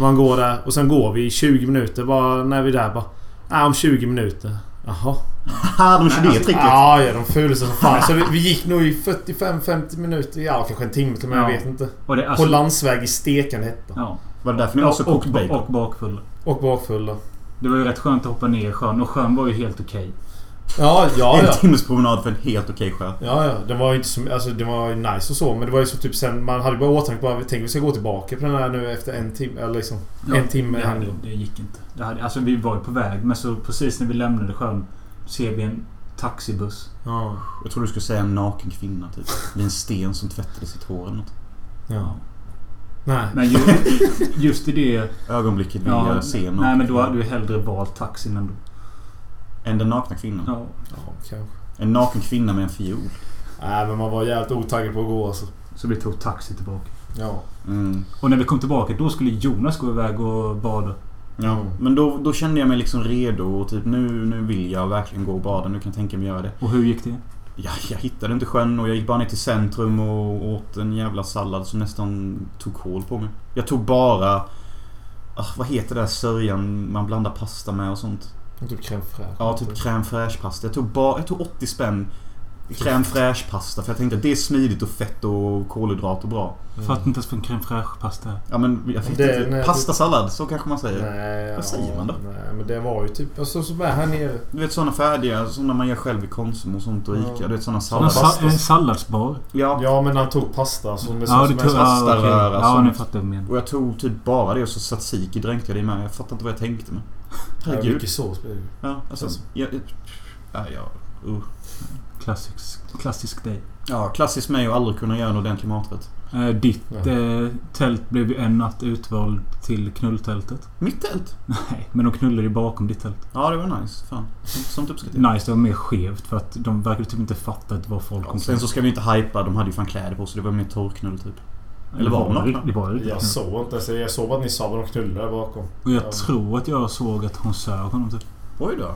H: Man går där och sen går vi i 20 minuter bara när vi är där bara... Ah, om 20 minuter. Jaha.
B: Haha, de kör det tricket.
A: alltså,
H: Ja, ja, de fulade som fan. Så vi, vi gick nog i 45-50 minuter. Ja, kanske en timme till och med. Jag
A: Ja.
H: vet inte.
A: Och det- alltså-
H: På landsväg i stekande hetta.
A: Ja.
B: Var det därför ni var så
A: och,
B: kokt
A: och,
B: bacon?
A: och bakfulla.
H: Och bakfulla.
A: Det var ju rätt skönt att hoppa ner i sjön och sjön var ju helt okej.
H: Ja, ja,
B: en
H: ja.
B: timmes promenad för en helt okej sjö.
H: Ja, ja. Det var ju inte som, alltså, det var ju nice och så. Men det var ju så typ sen... Man hade ju bara åtanke bara... Tänk vi ska gå tillbaka på den här nu efter en timme. Eller liksom...
A: Ja,
H: en timme.
A: Det, hade, det gick inte. Det hade, alltså vi var ju på väg men så precis när vi lämnade sjön ser vi en taxibuss.
H: Ja.
B: Jag tror du skulle säga en naken kvinna typ. Vid en sten som tvättade sitt hår eller något.
H: Ja. Nej.
A: Men ju, just i det...
B: Ögonblicket vill
A: Ja,
B: jag se
A: Nej men då hade du hellre valt taxin ändå.
B: Än den nakna kvinnan?
A: Ja.
H: kanske.
B: En naken kvinna med en fiol.
H: Nej, men man var jävligt otaggad på att gå alltså.
A: Så vi tog taxi tillbaka.
H: Ja.
B: Mm.
A: Och när vi kom tillbaka då skulle Jonas gå iväg och bada.
B: Ja, men då, då kände jag mig liksom redo och typ nu, nu vill jag verkligen gå och bada. Nu kan jag tänka mig göra det.
A: Och hur gick det?
B: Ja, jag hittade inte sjön och jag gick bara ner till centrum och åt en jävla sallad som nästan tog kål på mig. Jag tog bara... Ah, vad heter det där sörjan man blandar pasta med och sånt?
H: Typ crème fraîche.
B: Ja, typ crème fraîche pasta. Jag tog, bara, jag tog 80 spänn crème fraîche pasta för jag tänkte att det är smidigt och fett och kolhydrat och bra.
A: Fattar inte ens vad en crème fraîche pasta är.
B: Ja men jag fick
H: Det-
B: inte...
H: nej,
B: Pastasallad, så kanske man säger.
H: Nej,
B: Vad säger
H: ja,
B: man då?
H: Nej, men det var ju typ... Alltså som är här nere.
B: Du vet såna färdiga, såna man gör själv i Konsum och sånt och
H: Ja.
B: Ica. Du vet såna
A: Sådana sa-
B: sallader.
A: en salladsbar.
B: Ja.
H: Ja, men han tog pasta som är
A: Ja,
H: som
A: det
H: är
A: tog- ja,
H: pasta.
A: okej.
B: Starröra,
A: Ja,
B: sånt.
A: nu fattar jag vad du menar.
B: Och jag tog typ bara det och så tzatziki dränkte jag det i med. Jag fattar inte vad jag tänkte med.
H: Ja,
B: Herregud.
H: mycket sås blev det ju.
B: Ja, alltså.
H: Alltså.
B: Jag, jag, ja, jag, uh.
A: Klassisk, klassisk dig.
B: ja, klassiskt mig att aldrig kunna göra en ordentlig maträtt.
A: Eh, ditt
H: Ja.
A: eh, tält blev ju en natt utvald till knulltältet.
B: Mitt tält?
A: Nej, men de knullade ju bakom ditt tält.
B: Ja, det var nice. Fan. typ Sånt, sånt uppskattar jag.
A: Nice, det var mer skevt för att de verkade typ inte fatta att det var folk
B: Ja, sen så ska vi inte hypa. De hade ju fan kläder på sig. Det var mer torrknull typ. Eller var de
A: det? Det
B: nakna?
A: var ju
H: Jag
A: riktigt
H: såg inte ens det. Jag såg bara att ni sa vad de knullade där bakom.
A: Och jag
H: Ja.
A: tror att jag såg att hon sög honom typ.
B: Oj då.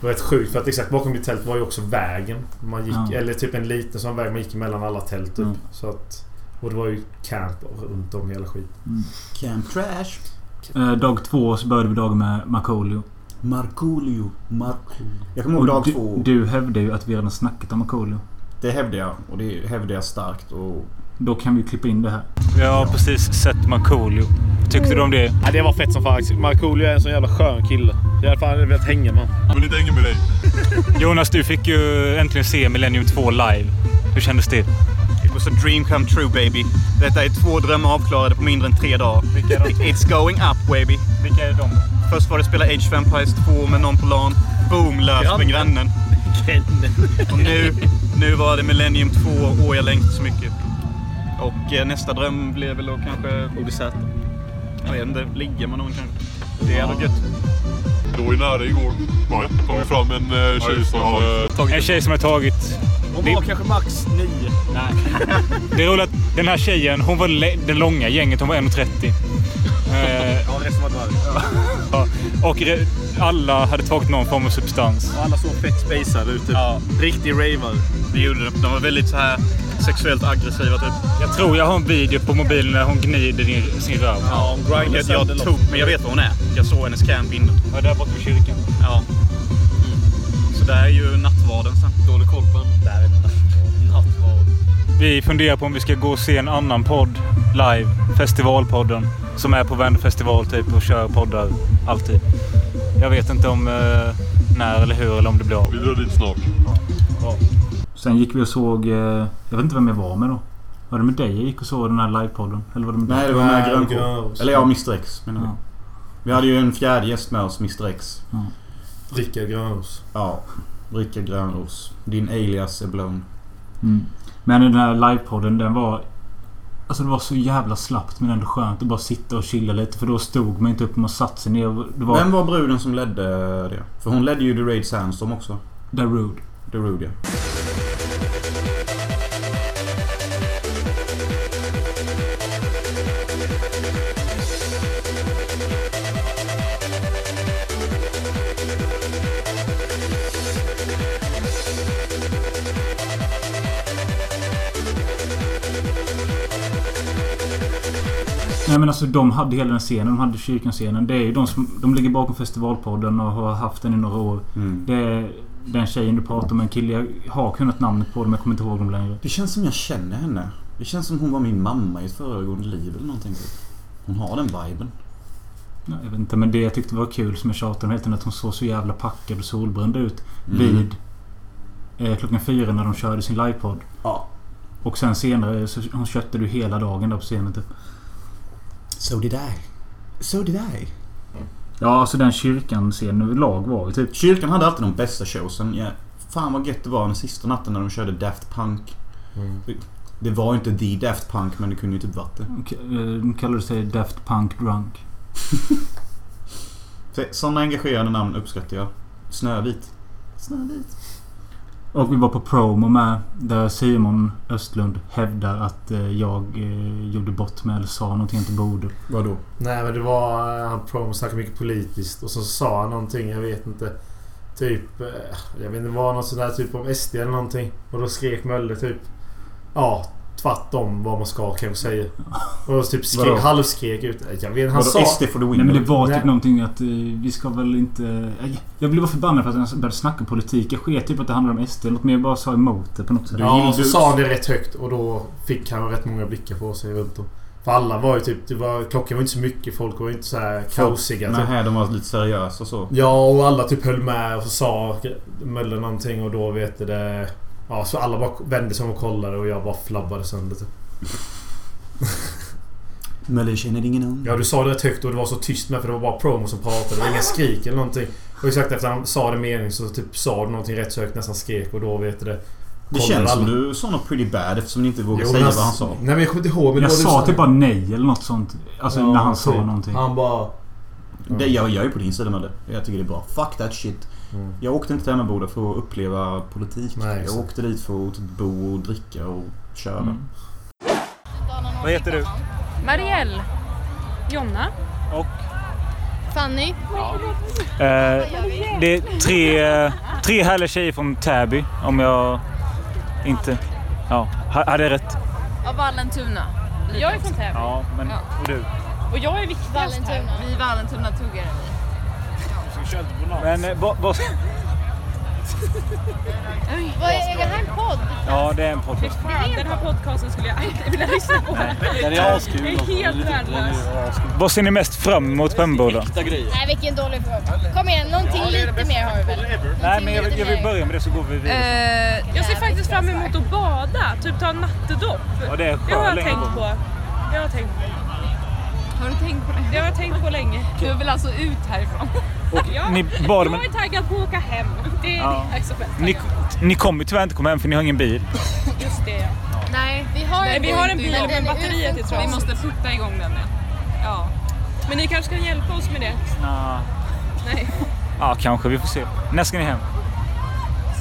H: Det var rätt sjukt för att exakt bakom ditt tält var ju också vägen. Man gick,
A: Ja.
H: Eller typ en liten sån väg man gick mellan alla tält upp.
A: Mm.
H: Så att, och det var ju camp runt om i hela skiten.
B: Camp trash.
A: Eh, dag två så började vi dagen med Markoolio.
B: Markoolio. Markoolio. Jag kommer ihåg dag
A: du,
B: två.
A: du hävdade ju att vi redan snackat om Markoolio.
B: Det hävdar jag. Och det hävdar jag starkt. Och
A: Då kan vi ju klippa in det här.
D: Jag har precis sett Markoolio. Tyckte du om det?
E: Ja, det var fett som fan. Markoolio är en sån jävla skön kille. Jag hade fan velat hänga med honom.
F: Jag vill inte hänga med dig.
D: Jonas, du fick ju äntligen se Millennium 2 live. Hur kändes det?
E: It was a dream come true baby. Detta är två drömmar avklarade på mindre än tre dagar.
D: Vilka är de?
E: It's going up baby.
D: Vilka är de?
E: Först var det spela Age of Empires 2 med någon på LAN. Boom, lös med grannen. Och nu, nu var det Millennium 2. Åh, jag längtar så mycket. Och eh, nästa dröm blev väl då kanske Odyssey. Jag vet inte, ligga med någon kanske. Det är ändå gött.
F: Det var ju nära igår. Kom ju fram en eh, tjej som... eh,
D: En tjej som har tagit...
E: Hon
D: Det-
E: var kanske max nio. Nej.
D: Det är roligt att den här tjejen, hon var le- det långa gänget, hon var 1,30. Eh,
E: Ja, resten var dvärg.
D: ja. och re- alla hade tagit någon form av substans.
E: Och alla såg fett spacade ut. Typ. Riktig raver. Det gjorde de. De var väldigt så här
O: sexuellt aggressiva typ.
D: Jag tror jag har en video på mobilen där hon gnider i sin röv.
O: Ja, hon grindar Jag tog, men jag vet vad hon är. Jag såg hennes camping.
D: Ja, där borta vid kyrkan.
O: Ja. Så där är ju nattvarden sen. Dålig koll på den. Där är nattvarden.
D: Vi funderar på om vi ska gå och se en annan podd live. Festivalpodden. Som är på Vänd festival typ och kör poddar alltid. Jag vet inte om eh, när eller hur eller om det blir av.
P: Vi drar dit snart.
A: Sen gick vi och såg... eh, Jag vet inte vem jag var med då. Var det med dig jag gick och såg den här livepodden? Eller var det med dig?
B: Nej, det var med Grönkål. Eller ja, Mr X menar jag.
A: Ja.
B: Vi hade ju en fjärde gäst med oss, Mr X.
A: Ja.
B: Rickard Grönros. Ja, Rickard Grönros. Din alias är blown.
A: Mm. Men den här livepodden den var... Alltså det var så jävla slappt men ändå skönt att bara sitta och chilla lite för då stod man inte upp. Man satte sig ner. Det var...
B: Vem var bruden som ledde det? För hon ledde ju The Raid Sandstorm också.
A: The Rude.
B: The Rude, ja.
A: Nej men alltså de hade hela den scenen. De hade kyrkanscenen. Det är ju de som... De ligger bakom festivalpodden och har haft den i några år.
B: Mm.
A: Det är den tjejen du pratar om. En kille. Jag har kunnat namnet på dem. Jag kommer inte ihåg dem längre.
B: Det känns som jag känner henne. Det känns som hon var min mamma i ett föregående liv eller någonting. typ. Hon har den viben.
A: Ja, Jag vet inte, men det jag tyckte var kul som jag tjatade om hela tiden att hon såg så jävla packad och solbränd ut.
B: Mm.
A: Vid eh, klockan fyra när de körde sin livepodd.
B: Ja.
A: Och sen senare så hon köttade du hela dagen där på scenen typ.
B: So did I. So did I.
A: Ja, alltså den kyrkan scenen överlag var ju typ...
B: Kyrkan hade alltid de bästa showsen. Ja, fan vad gött det var den sista natten när de körde Daft Punk. Mm. Det var ju inte the Daft Punk men det kunde ju typ varit det.
A: K- eh, De kallade sig Daft Punk Drunk.
B: Så- Sådana engagerande namn uppskattar jag. Snövit. Snövit.
A: Och vi var på promo med där Simon Östlund hävdar att eh, jag eh, gjorde bort mig eller sa någonting jag inte borde.
B: Vadå?
H: Nej men det var... eh, Han prom snackade mycket politiskt och så sa han någonting, jag vet inte. Typ... eh, Jag vet inte, det var något sånt där typ om SD eller någonting. Och då skrek Möller typ... Ja, tvärtom vad man ska kanske säga. Och då typ
A: Vadå?
H: skrek, halvskrek ut. Eh, Jag vet inte, han sa...
A: Nej men det var typ
H: Nej.
A: någonting att eh, vi ska väl inte... Jag, jag blev bara förbannad för att han började snacka politik. Jag sket typ att det handlade om SD. eller Något mer jag bara sa emot det på något sätt.
H: Ja, och så sa han det rätt högt och då fick han rätt många blickar på sig runt om. För alla var ju typ... Det var, klockan var inte så mycket, folk var inte så här kaosiga.
B: Nej,
H: typ.
B: här, de var lite seriösa och så.
H: Ja, och alla typ höll med och så sa Möller någonting och då vet du det... Ja, så alla bara vände sig om och kollade och jag bara flabbade sönder typ.
B: Möller känner ingen hund.
H: Ja, du sa det rätt högt och det var så tyst med för det var bara promo som pratade. Det var inga skrik eller någonting. Och exakt efter han sa det meningen så typ sa du någonting rätt så högt, nästan skrek och då vet du det...
B: Det
H: kollade
B: känns som
H: alla.
B: du sa något pretty bad eftersom ni inte vågar
H: Jo,
B: säga
H: men
B: vad han
H: alltså-
B: sa.
H: Nej men jag kommer inte ihåg. Men det
A: Jag
H: var du
A: sa
H: som-
A: typ bara nej eller något sånt. Alltså
H: Ja,
A: när han sa
H: typ.
A: någonting.
H: Han bara... Mm.
B: Det, jag, jag är på din sida med det. Jag tycker det är bra. Fuck that shit. Jag åkte inte till Emmaboda för att uppleva politik.
H: Mm. Nej,
B: jag
H: så.
B: åkte dit för att typ bo och dricka och köra.
H: Mm.
D: Vad heter du?
Q: Marielle. Jonna.
D: Och?
Q: Fanny.
D: Eh, det är tre, eh, tre härliga tjejer från Täby. Om jag inte... Ja, ha- hade jag rätt?
Q: Och Vallentuna. Jag är från Täby.
D: Ja, men... Och du?
Q: Och jag är viktigast Vallentuna. här. Vi är Vallentuna-tuggare.
D: Men eh, vad... vad-
Q: Vad är det här en podd?
D: Ja, det är en podcast.
Q: Den här podcasten skulle jag aldrig vilja lyssna på.
D: Nej, den är askul.
Q: Den är helt värdelös.
D: Vad ser ni mest fram emot på Emmaboda?
G: Nej, vilken dålig fråga. Kom igen, någonting lite mer har vi väl?
D: Nej, men jag vill, jag vill börja med det så går vi
Q: Eh,
D: vidare.
Q: jag ser faktiskt fram emot att bada, typ ta en nattedopp.
D: Ja, det är
Q: Det har jag
D: Sjöläng.
Q: tänkt på. Jag har tänkt på det. Har du tänkt på det? Det har jag tänkt på länge. Du vill alltså ut härifrån? ja,
D: ni bad-
Q: jag är taggad på att åka hem. Det är
D: Ja.
Q: jag så fett
D: Ni, ni kommer tyvärr inte komma hem för ni har ingen bil.
Q: taggad. Just det ja.
G: Nej, vi har
Q: Nej,
G: en
Q: vi
G: bil,
Q: har en
G: men
Q: bil
G: den
Q: men
G: är
Q: batteriet är
G: utfylld.
Q: trasigt.
G: Vi måste
Q: putta igång den. Ja. Men ni kanske kan hjälpa oss med det?
D: Nja.
Q: Nej.
D: Ja, kanske. Vi får se. När ska ni hem?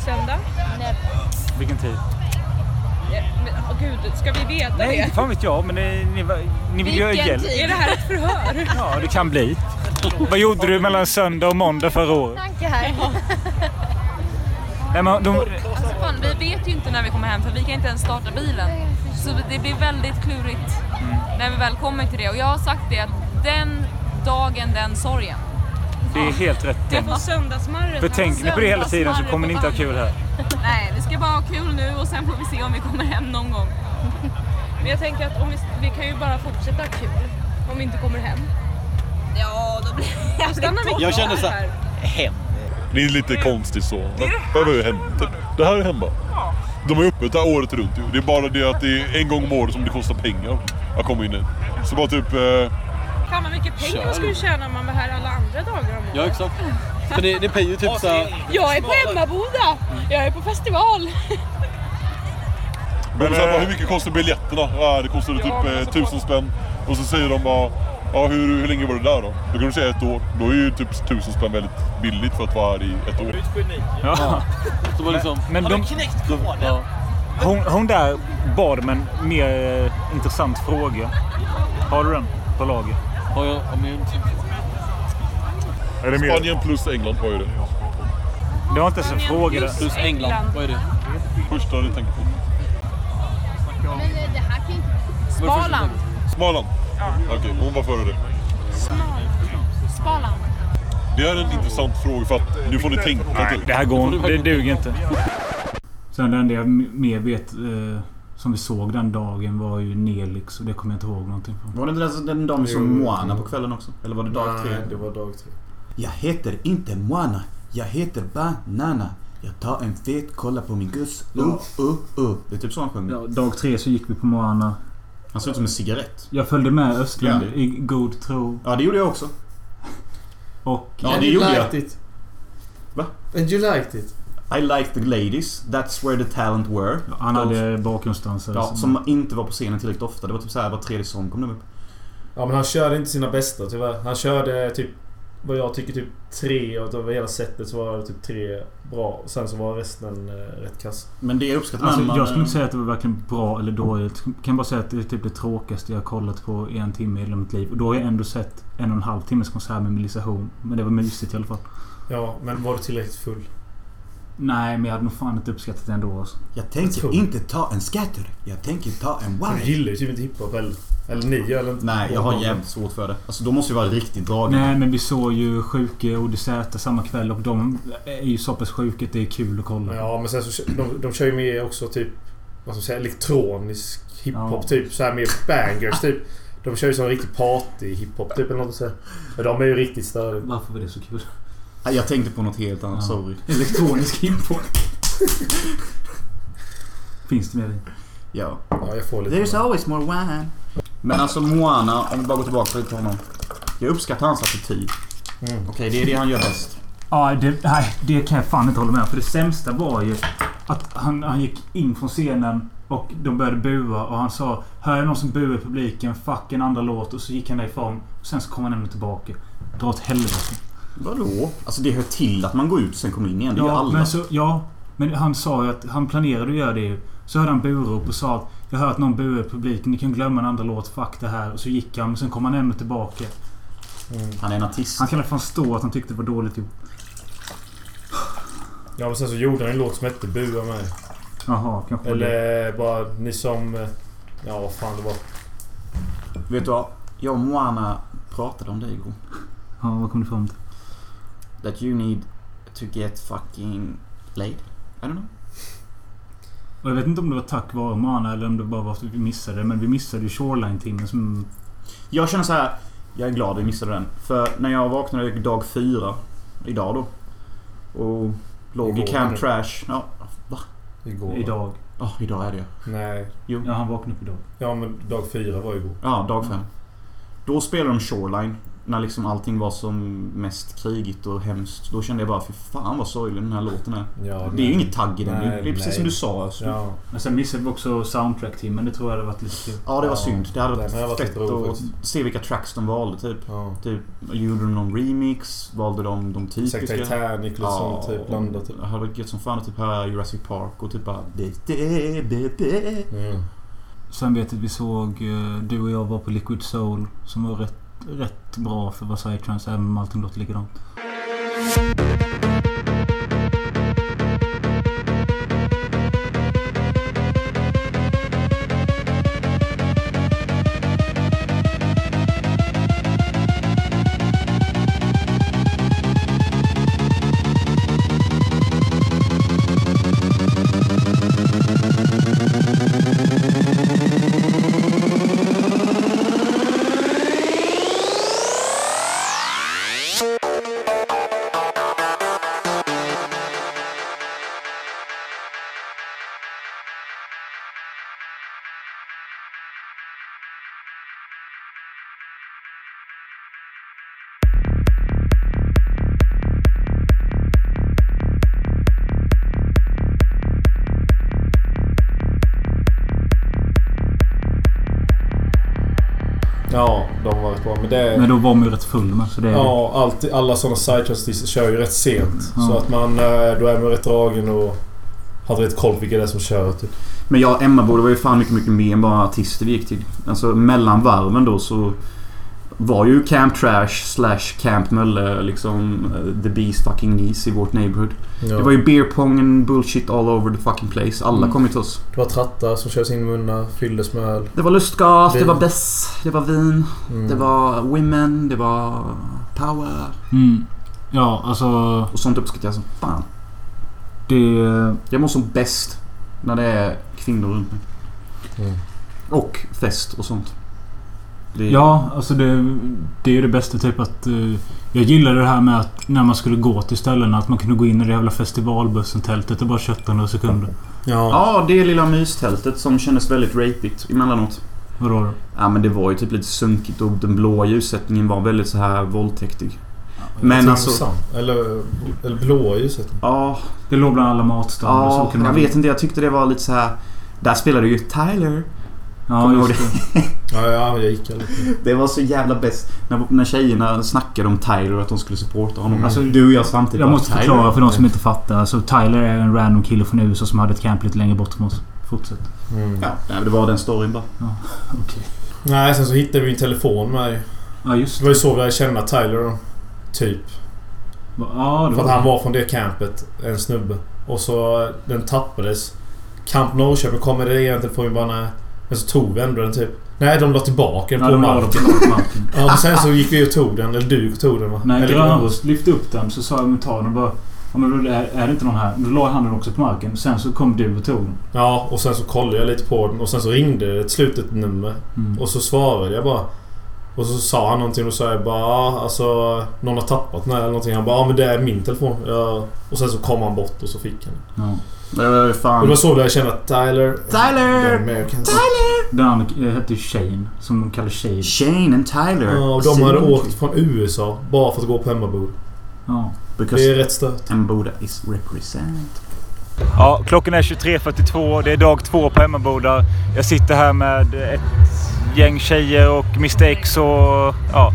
Q: Söndag? Nej.
D: Vilken tid?
Q: Men, åh gud, ska vi veta
D: Nej,
Q: det?
D: inte fan vet jag. Men ni, ni, ni vill ju ha hjälp.
Q: Är det här ett förhör?
D: Ja, det kan bli. Vad gjorde du mellan söndag och måndag förra året?
G: Tanke här.
D: Nej, men de,
G: Alltså, fan,
R: vi vet ju inte när vi kommer hem för vi kan inte ens starta bilen. Så det blir väldigt klurigt när vi väl kommer till det. Och jag har sagt det att den dagen, den sorgen.
D: Det är helt rätt.
R: Det var söndagsmarret.
D: För tänker ni på det hela tiden så kommer ni inte ha kul här.
R: Nej, vi ska bara ha kul nu och sen får vi se om vi kommer hem någon gång.
Q: Men jag tänker att om vi, vi kan ju bara fortsätta ha kul om vi inte kommer hem. Ja, då blir det Stannar vi
F: Jag känner så här-
N: Hem.
F: Det är lite konstigt så. Vad är hem? Typ. Det här är hemma. De är öppet där året runt ju. Det är bara det att det är en gång om året som det kostar pengar att komma in hit. Så bara typ... Eh,
Q: Fan vad mycket pengar
F: Kör.
Q: man skulle tjäna om man var här alla andra dagar om året.
N: Ja, exakt. För det, det blir ju typ så här...
Q: Jag är på Emmaboda! Jag är på festival!
F: men,
D: eh,
F: så här, bara, hur mycket kostar biljetterna? Ja, det kostade typ eh, tusen spänn. Och så säger de bara... Ja, hur, hur länge var du där då? Då kan du säga ett år. Då är ju typ tusen spänn väldigt billigt för att vara här i ett år.
D: Ja.
N: Så var liksom,
D: Men
N: har du
D: de-
N: knäckt koden?
D: Hon, hon där bad med en mer eh, intressant fråga. Har du den på lager?
N: Har jag? Om jag inte...
D: Är det mer-
F: Spanien plus England har ju det.
D: Det var inte ens en fråga. där.
N: Plus England. Vad är det?
F: Första du tänker på.
Q: Men eh, det här kan inte...
R: Småland.
F: Småland? Okej, hon var före det.
R: Småland.
F: Det är en intressant fråga för att nu får ni tänka
D: Nej,
F: till.
D: det här går inte. Det duger inte.
A: Sen det enda jag m- mer vet eh, som vi såg den dagen var ju Nelix och det kommer jag inte ihåg någonting från.
B: Var det inte den- den dagen vi såg Moana på kvällen också? Eller var det dag
H: Nej,
B: tre?
H: det var dag tre.
B: Jag heter inte Moana. Jag heter Banana. Jag tar en fet kolla på min guss. Uh, uh, uh. Det är typ så han sjunger.
A: Dag tre så gick vi på Moana.
B: Han såg ut som en cigarett.
A: Jag följde med Östlund
B: Ja.
A: i god tro.
B: Ja, det gjorde jag också.
A: Och...
B: Ja, det gjorde jag.
H: It.
B: Va?
H: And you liked it.
B: I liked the ladies. That's where the talent were.
A: Han hade bakgrundsdansare.
B: Ja, som inte var på scenen tillräckligt ofta. Det var typ såhär var tredje sång kom de upp.
H: Ja men han körde inte sina bästa tyvärr. Han körde typ vad jag tycker typ tre och över hela sättet så var det typ tre bra. Och sen så var resten eh, rätt kass.
B: Men det uppskattar
A: Alltså,
B: man. eh,
A: jag skulle inte säga att det var verkligen bra eller dåligt. Jag kan bara säga att det är typ det tråkigaste jag har kollat på i en timme i hela mitt liv. Och då har jag ändå sett en och en halv timmes konsert med Melissa Horn. Men det var mysigt i alla fall.
H: Ja, men var du tillräckligt full?
A: Nej, men jag hade nog fan inte uppskattat det ändå. Alltså.
B: Jag tänker inte ta en scatter. Jag tänker ta en wow.
H: Du gillar ju typ inte hiphop eller? Eller ni gör eller inte?
B: Nej, jag har jävligt svårt för det. Alltså, de måste ju vara riktigt dragna.
A: Nej, men vi såg ju Sjuke och Deserta samma kväll och de är ju så pass sjuka att det är kul att kolla.
H: Ja men sen så kö- de, de kör ju med också typ vad ska man säga, elektronisk hiphop
A: Ja.
H: typ. Så här med bangers typ. De kör ju sån riktig party hiphop typ eller något sånt. Men de är ju riktigt störiga.
A: Varför var det så kul?
B: Nej, Jag tänkte på något helt annat. Sorry.
A: Elektronisk hiphop. Finns det mer i?
B: Ja.
H: Ja, jag får lite.
B: There's always more wine. Men alltså Moana, om vi bara går tillbaka lite till honom. Jag uppskattar hans attityd.
A: Mm.
B: Okej, det är det han gör bäst.
A: Ja, det, nej, det kan jag fan inte hålla med om. För det sämsta var ju att han, han gick in från scenen och de började bua och han sa Hör jag någon som buar i publiken, fuck en andra låt. Och så gick han därifrån. Och sen så kom han ändå tillbaka. Dra åt helvete.
B: Vadå? Alltså det hör till att man går ut och sen kommer in igen. Det gör
A: Ja,
B: alla.
A: men, så, ja, men han sa ju att han planerade att göra det ju. Så hörde han burop och sa att Jag hör att någon buar i publiken. Ni kan glömma en andra låt, fuck det här. Och så gick han. Och sen kom han ändå tillbaka.
B: Han är en artist.
A: Han kan i alla fall stå att han tyckte det var dåligt gjort.
H: Ja men sen så gjorde han en låt som hette Bua med.
A: Jaha, kanske det.
H: Eller bara ni som... eh, Ja vad fan det var.
B: Vet du vad? Jag och Moana pratade om det igår.
A: Ja, vad kom du fram till?
B: That you need to get fucking laid. I don't know.
A: Och jag vet inte om det var tack vare Mana eller om det bara var att vi missade det. Men vi missade ju Shoreline-timmen som...
B: Jag känner så här. Jag är glad att vi missade den. För när jag vaknade dag fyra. Idag då. Och låg i
A: Igår,
B: Camp
A: eller?
B: Trash. Ja, va?
H: Igår.
A: Idag.
B: Ja, idag är det ju.
H: Nej.
B: Jo.
A: Ja, han vaknade upp idag.
H: Ja men dag fyra var igår.
B: Ja, dag fem. Då spelade de Shoreline. När liksom allting var som mest krigigt och hemskt. Då kände jag bara, fy fan vad sorglig den här låten är. det
H: Ja,
B: är ju
H: nej.
B: inget tagg i den. det är precis som du sa. Alltså.
H: Ja.
A: Men sen missade vi också soundtrack-timmen. Det tror jag hade varit lite kul.
B: Ja, det var synd. Det hade
H: den hade
B: varit
H: varit
B: fett
H: lite rolig
B: att se vilka tracks de valde typ.
H: Ja.
B: typ gjorde de någon remix? Valde de de typiska?
H: Säkert Titanic eller sånt, typ, blandat, typ.
B: Det hade varit gött som fan att typ höra Jurassic Park och typ bara... Det, det, det, det.
H: Mm.
A: Sen vet jag att vi såg... eh, Du och jag var på Liquid Soul. Som var rätt, rätt bra för Versailles Trance. Även om allting låter likadant.
M: Thank you.
H: Ja, de var rätt bra. Men, det,
A: Men då var man ju rätt full med. Så det,
H: Ja, allt, alla sådana sidetrust kör ju rätt sent. Så
A: Ja.
H: att man, eh, då är man rätt dragen och har rätt koll på vilka det är som kör. Typ.
B: Men jag och Emma borde var ju fan mycket, mycket mer än bara artister vi gick till. Alltså mellan varven då så var ju Camp Trash slash Camp Mölle liksom eh, the bees fucking niece i vårt neighborhood.
H: Ja.
B: Det var ju beer pong and bullshit all over the fucking place. Alla
H: Mm.
B: kom ju till oss.
H: Det var trattar som kördes in i munnar, fylldes med öl.
B: Det var lustgas, det
H: Vin.
B: var bess, det var vin,
H: Mm.
B: det var women, det var power.
A: Mm. Ja, alltså...
B: Och sånt uppskattar jag som fan.
A: Det...
B: Jag mår som bäst när det är kvinnor runt mig.
H: Mm.
B: Och fest och sånt. Det-
A: Ja, alltså det, det är ju det bästa. Typ att... eh, jag gillade det här med att när man skulle gå till ställena att man kunde gå in i det jävla festivalbussen-tältet och bara kötta några sekunder.
B: Ja, det lilla mystältet som kändes väldigt rapigt emellanåt.
A: Vadå då?
B: Ja, men det var ju typ lite sunkigt och den blåa ljussättningen var väldigt så här våldtäktig.
H: Jag
B: Men
H: tror
B: alltså...
H: sam- Eller, eller blåa ljuset.
B: Ja.
A: Det låg bland alla matstånd. och så
B: Ja,
A: kunde
B: jag
A: man-
B: vet inte. Jag tyckte det var lite så här... Där spelade ju Tyler. Kommer
A: Ja,
B: du
A: just
B: ihåg
A: det.
H: Ja, ja, jag gick aldrig.
B: Det var så jävla bäst. När, när tjejerna snackade om Tyler och att de skulle supporta honom.
A: Mm.
B: Alltså du och jag samtidigt.
A: Jag
B: bara,
H: Typ
A: måste
B: "Tyler?"
A: förklara för de som inte fattar. Alltså, Tyler är en random kille från USA som hade ett camp lite längre bort från oss. Fortsätt.
H: Mm.
B: Ja, nej, men det var den storyn bara.
A: Ja, okej.
H: Nej, sen så hittade vi en telefon med ju.
A: Ja, just
H: det. var ju så vi lärde känna Tyler då. Typ.
A: Ja, det
H: För att
A: var-
H: han var från det campet. En snubbe. Och så eh, den tappades. Camp Norrköping kom med det egentligen på bara nej. Men så tog vi ändå den typ. Nej, de la tillbaka
A: Ja,
H: den på
A: de la den
H: marken.
A: på marken.
H: ja, men sen så gick vi och tog den. Eller du tog den va?
A: När
H: eller
A: Grönros lyfte upp den så sa jag med ta den och bara... Ja, men då är, är det inte någon här? Då la jag handen också på marken. Sen så kom du och tog den.
H: Ja, och sen så kollade jag lite på den och sen så ringde det ett slutet nummer.
A: Mm.
H: Och så svarade jag bara. Och så sa han någonting och så sa jag bara "Ja, alltså någon har tappat den här eller någonting. Han bara ja men det är min telefon. Ja. Och sen så kom han bort och så fick han den.
B: Det var ju fan...
H: Och det var så jag kände att Tyler...
B: Tyler!
H: Den med kan-
A: Den andra eh, hette ju Shane. Som de kallar Shane.
B: Shane and Tyler.
H: Ja, och de hade åkt från USA bara för att gå på hemmabord.
A: Ja.
H: Det är rätt stört.
B: Emboda is represent.
D: Ja, klockan är 23.42. Det är dag två på Emmaboda. Jag sitter här med ett gäng tjejer och Mr X och... Ja,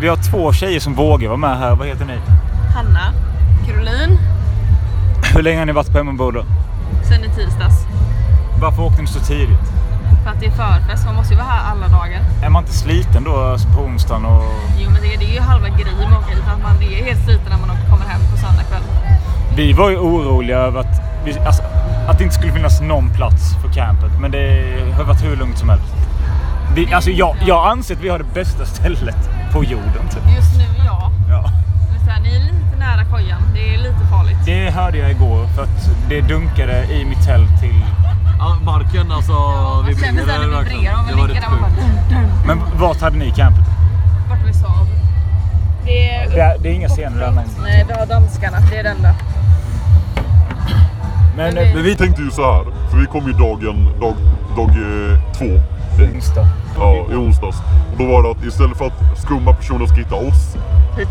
D: vi har två tjejer som vågar vara med här. Vad heter ni?
Q: Hanna, Caroline,
D: Hur länge har ni varit på Emmaboda?
Q: sen i tisdags.
D: Varför åkte ni så tidigt?
Q: För att det är förfest, man måste ju vara här alla dagar.
D: Är man inte sliten då alltså på onsdagen? Och...
Q: Jo men det är ju halva grejen med att åka hit, att man är helt sliten när man kommer hem på söndag kväll.
D: Vi var ju oroliga över att, vi, alltså, att det inte skulle finnas någon plats för campet. Men det har varit hur lugnt som helst. Vi, alltså, jag, jag anser att vi har det bästa stället på jorden. Typ.
Q: Just nu, ja.
D: Ja.
Q: Men så här, ni är lite nära kojan, det är lite farligt.
D: Det hörde jag igår för att det dunkade i mitt tält till...
N: Ja, marken alltså
Q: Man känner
N: vibrerar
Q: såhär, det
N: verkligen.
Q: vibrerar om
N: Det
Q: man
N: var
Q: ligger där
N: rätt
Q: man bara
N: sjukt.
Q: dun, dun.
D: Men vart hade ni campet?
Q: Vart vi sov. Det är,
D: Det är, det är inga scener där men...
Q: Nej, vi har danskarna, det är den där.
D: Men,
F: men vi tänkte ju så här, för vi kom ju dagen, dag, dag eh, två.
D: Onsdag.
F: Ja, i onsdags. Och då var det att istället för att skumma personer ska hitta oss,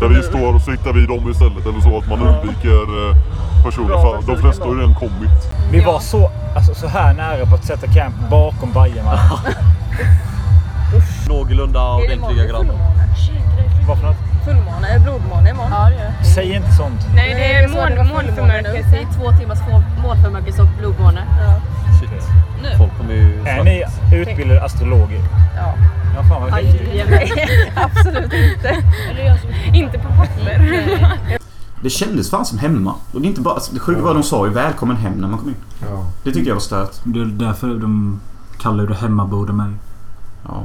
F: där vi står, så hittar vi dem istället. Eller så att man undviker eh, personer, för de flesta har ju redan kommit.
D: Vi var så, alltså, så här nära på att sätta camp bakom Bajenvallen.
N: Någorlunda ordentliga grannar.
D: Vad för något?
Q: Fullmåne, är det blodmåne imorgon? Ja det är det.
D: Säg inte sånt.
G: Nej, det är mån- månförmörkelse. Det är två timmars mån- månförmörkelse och blodmåne.
N: Shit.
Q: Nu.
N: Folk kommer ju...
D: Är ni utbildade astrologer?
Q: Ja.
D: Ja, fan vad häftigt.
Q: Absolut inte. Inte på papper.
B: Det kändes fan som hemma. Och det är inte bara... Alltså, det sjuka var att de sa ju välkommen hem när man kom in.
H: Ja.
B: Det tyckte jag var stört.
A: Det är därför de kallar ju det hemmabord av mig.
B: Ja.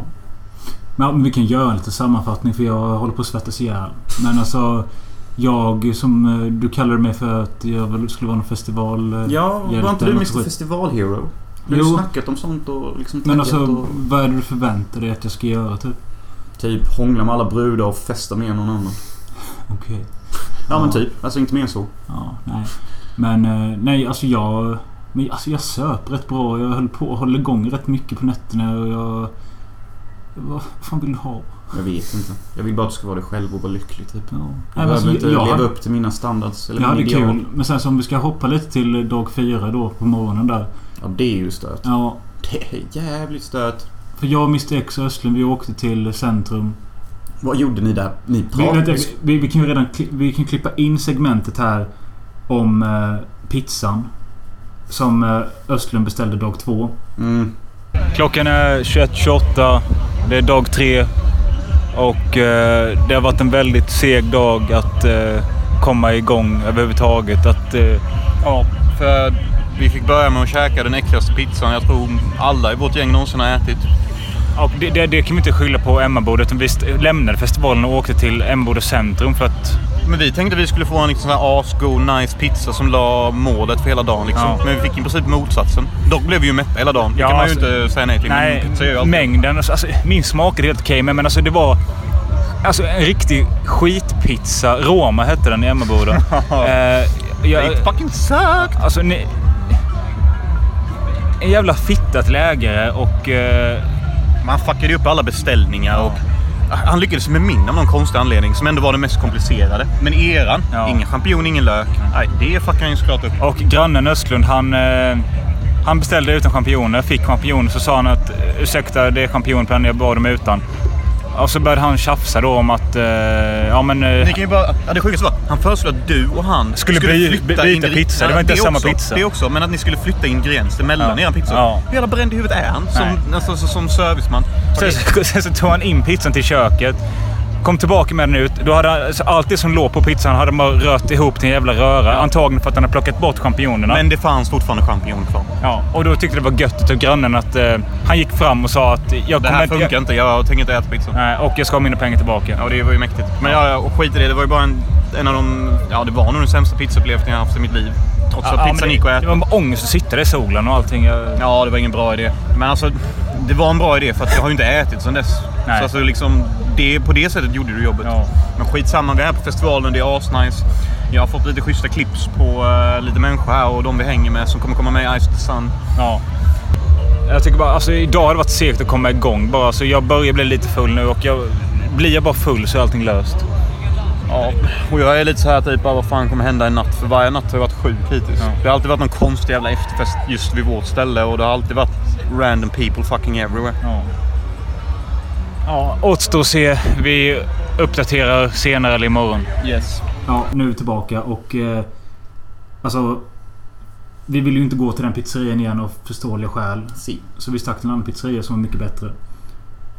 A: Men, ja, men vi kan göra en liten sammanfattning för jag håller på att svettas ihjäl. Men alltså... Jag som... eh, Du kallade mig för att jag väl skulle vara någon festival... eh,
B: Ja, var
A: hjälte
B: inte du
A: eller
B: Mr
A: något skit.
B: Festivalhero? Du har
A: Jo.
B: ju snackat om sånt och liksom
A: Men
B: taggat
A: alltså,
B: och...
A: vad är det du förväntar dig att jag ska göra typ?
B: Typ hångla med alla brudar och festa med någon annan.
A: Okej.
B: Ja men typ. Alltså inte mer än så.
A: Ja, nej. Men eh, nej, alltså jag... Men alltså jag söp rätt bra. Jag höll på och höll igång rätt mycket på nätterna och jag... Vad fan vill du ha?
B: Jag vet inte. Jag vill bara att du ska vara dig själv och vara lycklig typ.
A: Ja. Nej,
B: Jag
A: men alltså,
B: behöver inte
A: jag- jag
B: leva
A: hade-
B: upp till mina standards eller
A: jag
B: min
A: hade
B: ideal.
A: kul. Men sen så om vi ska hoppa lite till dag fyra då på morgonen där.
B: Ja, det är ju stört.
A: Ja.
B: Det är jävligt stört.
A: För jag, Mr X och Östlund, vi åkte till centrum.
B: Vad gjorde ni där? Ni
A: Vi,
B: pratade-
A: vänta, vi- vi, vi kan ju redan kli, vi kan klippa in segmentet här om eh, pizzan. Som eh, Östlund beställde dag två.
D: Klockan är 21.28. Det är dag tre. Och eh, det har varit en väldigt seg dag att eh, komma igång överhuvudtaget. Att, eh,
S: Ja, för vi fick börja med att käka den äckligaste pizzan jag tror alla i vårt gäng någonsin har ätit.
D: och det, det, det kan vi inte skylla på Emmaboda. utan Vi st- lämnade festivalen och åkte till Emmaboda centrum för att...
S: Men vi tänkte vi skulle få en liksom sån här asgod, nice pizza som la målet för hela dagen. Liksom.
D: Ja.
S: Men vi fick i princip motsatsen. Dock blev vi ju mätta hela dagen. Det kan man ju
D: alltså-
S: inte säga nej till. men
D: Nej,
S: pizza är ju alltid-
D: mängden. Alltså, alltså, min smak är helt okej, men, men alltså, det var alltså, en riktig skitpizza. Roma hette den i Emmaboda. eh, jag,
S: It fucking sucked!
D: Alltså, ni, en jävla fitta till ägare och... eh,
S: Man fuckade ju upp alla beställningar och... Han lyckades med min av någon konstig anledning som ändå var den mest komplicerade. Men eran, ingen champinjon, ingen lök. Nej, det fuckade han ju såklart upp.
D: Och grannen Östlund, han, eh, han beställde utan champinjoner, fick champinjoner. Så sa han att eh, ursäkta, det är champinjoner på den, jag bad dem utan. Och så började han tjafsa då om att... Eh, ja, men, eh,
S: Ni kan ju bara, ja, det sjukaste var han föreslog att du och han
D: Skulle by- byta
S: ingre-
D: pizza. Det var inte
S: Ja,
D: samma
S: också,
D: pizza.
S: Det också, men att ni skulle flytta ingredienser mellan
D: Ja.
S: era pizzor.
D: Ja.
S: Hur jävla bränd i huvudet är han som,
D: Nej.
S: alltså, så- som serviceman?
D: Sen, sen så tog han in pizzan till köket. Kom tillbaka med den ut. Då hade han, så allt det som låg på pizzan hade man rört ihop till en jävla röra. Antagligen för att han hade plockat bort champinjonerna.
S: Men det fanns fortfarande champinjoner kvar.
D: Ja, och då tyckte det var gött av grannen att eh, han gick fram och sa att jag
S: Det här
D: kommer
S: funkar inte. Jag tänker inte äta pizza.
D: Nej, och jag ska ha mina pengar tillbaka.
S: Ja, det var ju mäktigt. Men ja, ja, och skit i det. Det var ju bara en, en av de... Ja, det var nog den sämsta pizzaupplevelsen jag haft i mitt liv. Trots
D: Ja,
S: att
D: ja, men
S: pizzan
D: det-
S: gick att äta.
D: det var bara ångest att sitta där i solen och allting.
S: Ja, det var ingen bra idé. Men alltså, det var en bra idé för att jag har ju inte ätit sedan dess.
D: Nej.
S: Så alltså, liksom, det, på det sättet gjorde du jobbet. Men skitsamma, vi är här på festivalen. Det är asnice. Jag har fått lite schyssta clips på eh, lite människor här och de vi hänger med som kommer komma med i Ice the Sun.
D: Ja. Jag tycker bara, alltså idag har det varit segt att komma igång bara. Så jag börjar bli lite full nu och jag, blir jag bara full så är allting löst.
S: Ja, och jag är lite så här typ, bara, vad fan kommer hända i natt? För varje natt har jag varit sjuk hittills. Det har alltid varit någon konstig jävla efterfest just vid vårt ställe och det har alltid varit random people fucking everywhere.
D: Ja, återstår att se. Vi uppdaterar senare eller imorgon.
S: Yes.
A: Ja, nu tillbaka och... Eh, alltså... Vi ville ju inte gå till den pizzerian igen av förståeliga skäl. Så vi stack till en annan pizzeria som var mycket bättre.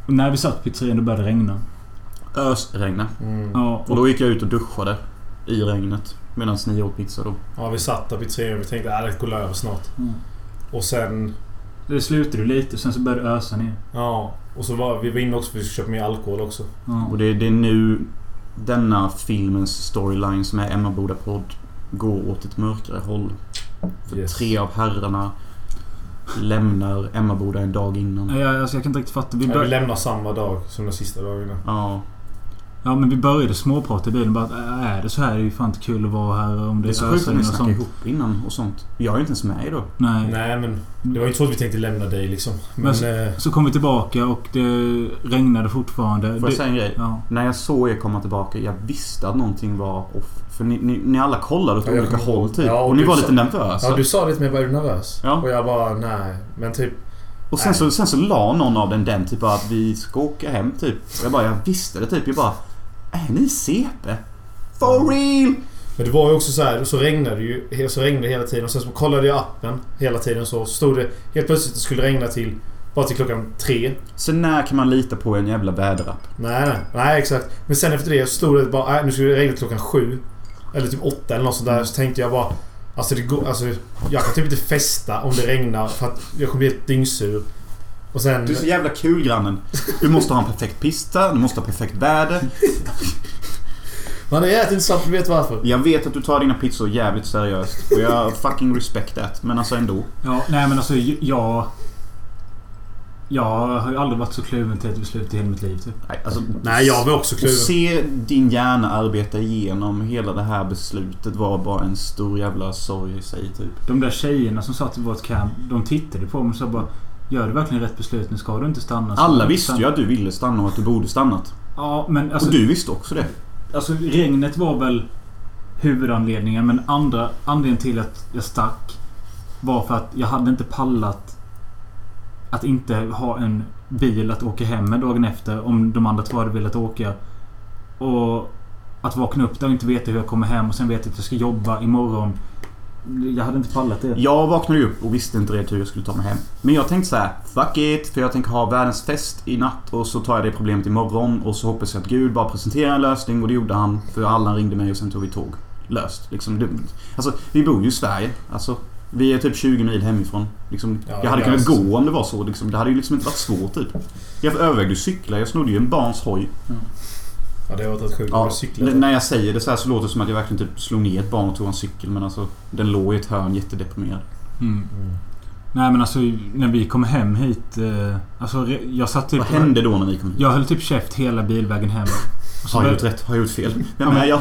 A: Och när vi satt på pizzerian då började det regna.
B: Ösregna.
H: Mm.
A: Ja,
B: och då gick jag ut och duschade i regnet. Medan ni åt pizza då.
H: Ja, vi satt där vid tre och vi tänkte att det går över snart.
A: Mm.
H: Och sen...
A: Det slutade ju lite, sen så började det ösa ner.
H: Ja, och så var vi var inne också för vi skulle köpa mer alkohol också.
B: Och det, det är nu denna filmens storyline som är Emma Boda podd går åt ett mörkare håll. För tre av herrarna lämnar Emma Boda en dag innan.
A: Jag, alltså, jag kan inte riktigt fatta. Vi,
H: Ja,
A: bör...
H: vi lämnar samma dag som den sista dagen innan.
B: Ja.
A: ja, men vi började småprata i bilen. Bara, "Äh, är det så här? Det är ju fan inte kul att vara här om det,
B: Det är så sjukt
A: ösregn
B: att ni
A: och
B: snackar
A: sånt.
B: ihop innan och sånt. Jag är ju inte ens med då.
A: Nej.
H: Nej, men det var ju inte så att vi tänkte lämna dig liksom. Men,
A: Men så,
H: eh,
A: så kom vi tillbaka och det regnade fortfarande.
B: Får jag
A: Det-
B: säga en grej?
A: Ja.
B: När jag såg er komma tillbaka, jag visste att någonting var off. För ni, ni, ni alla kollade åt
H: Ja, jag
B: olika
H: kommer
B: håll
H: ihåg.
B: typ.
H: Ja,
B: och ni
H: du
B: var
H: sa-
B: lite nervösa.
H: Ja, du sa lite mer bara är du nervös?
B: Ja.
H: Och jag bara nej. Men typ...
B: Och sen så, sen så la någon av den den typ bara att vi ska åka hem typ. Och jag bara, jag visste det typ. Jag bara, är ni CP? For real!
H: Men det var ju också så här, så regnade det ju så regnade det hela tiden och sen så kollade jag appen hela tiden så stod det helt plötsligt att det skulle regna till bara till klockan tre.
B: Så när kan man lita på en jävla väderapp?
H: Nej, nej, nej exakt. Men sen efter det så stod det bara nej, nu skulle det regna till klockan sju. Eller typ åtta eller något sånt där. Så tänkte jag bara alltså, det går, alltså jag kan typ inte festa om det regnar för att jag kommer bli helt dyngsur. Och sen...
B: Du är så jävla kul grannen. Du måste ha en perfekt pista, du måste ha perfekt väder.
H: Man har ätit inte snabbt, vet varför.
B: Jag vet att du tar dina pizzor jävligt seriöst. Och jag fucking respect that. Men alltså ändå.
A: Ja, nej men alltså j- jag... Jag har ju aldrig varit så kluven till ett beslut i hela mitt liv typ.
B: Nej, alltså,
A: Och
B: Att se din hjärna arbeta igenom hela det här beslutet var bara en stor jävla sorg i sig typ.
A: De där tjejerna som satt i vårt camp, de tittade på mig och sa bara Gör du verkligen rätt beslut? Nu ska du inte stanna. Ska
B: Alla
A: du inte
B: visste ju
A: stanna?"
B: att du ville stanna och att du borde stannat.
A: Ja, men alltså...
B: och du visste också det.
A: Alltså regnet var väl huvudanledningen men andra anledningen till att jag stack var för att jag hade inte pallat Att inte ha en bil att åka hem med dagen efter om de andra två hade velat åka. Och att vakna upp där och inte veta hur jag kommer hem och sen veta att jag ska jobba imorgon. Jag hade inte pallat det.
B: Jag vaknade ju upp och visste inte riktigt hur jag skulle ta mig hem. Men jag tänkte så här, fuck it, för jag tänker ha världens fest i natt och så tar jag det problemet imorgon och så hoppas jag att Gud bara presenterar en lösning och det gjorde han. För alla ringde mig och sen tog vi tåg. Löst. Liksom, det, alltså, vi bor ju i Sverige. Alltså, vi är typ 20 mil hemifrån. Liksom,
H: Ja,
B: jag hade
H: det
B: kunnat
H: är-
B: gå om det var så. Liksom. Det hade ju liksom inte varit svårt typ. Jag övervägde att cykla. Jag snodde ju en barns hoj.
H: Ja, det har varit rätt sjukt om
B: Ja,
H: du cyklar.
B: n- när jag säger det så här så låter det som att jag verkligen typ slog ner ett barn och tog en cykel. Men alltså, den låg i ett hörn jättedeprimerad.
A: Mm. Nej men alltså när vi kom hem hit. Eh, alltså re- jag satt typ...
B: Vad hände då när ni kom hit?
A: Jag höll typ käft hela bilvägen hem. Och så
B: Har jag
A: bör-
B: gjort rätt? Har jag gjort fel? Vem
A: Ja, men-
B: är jag?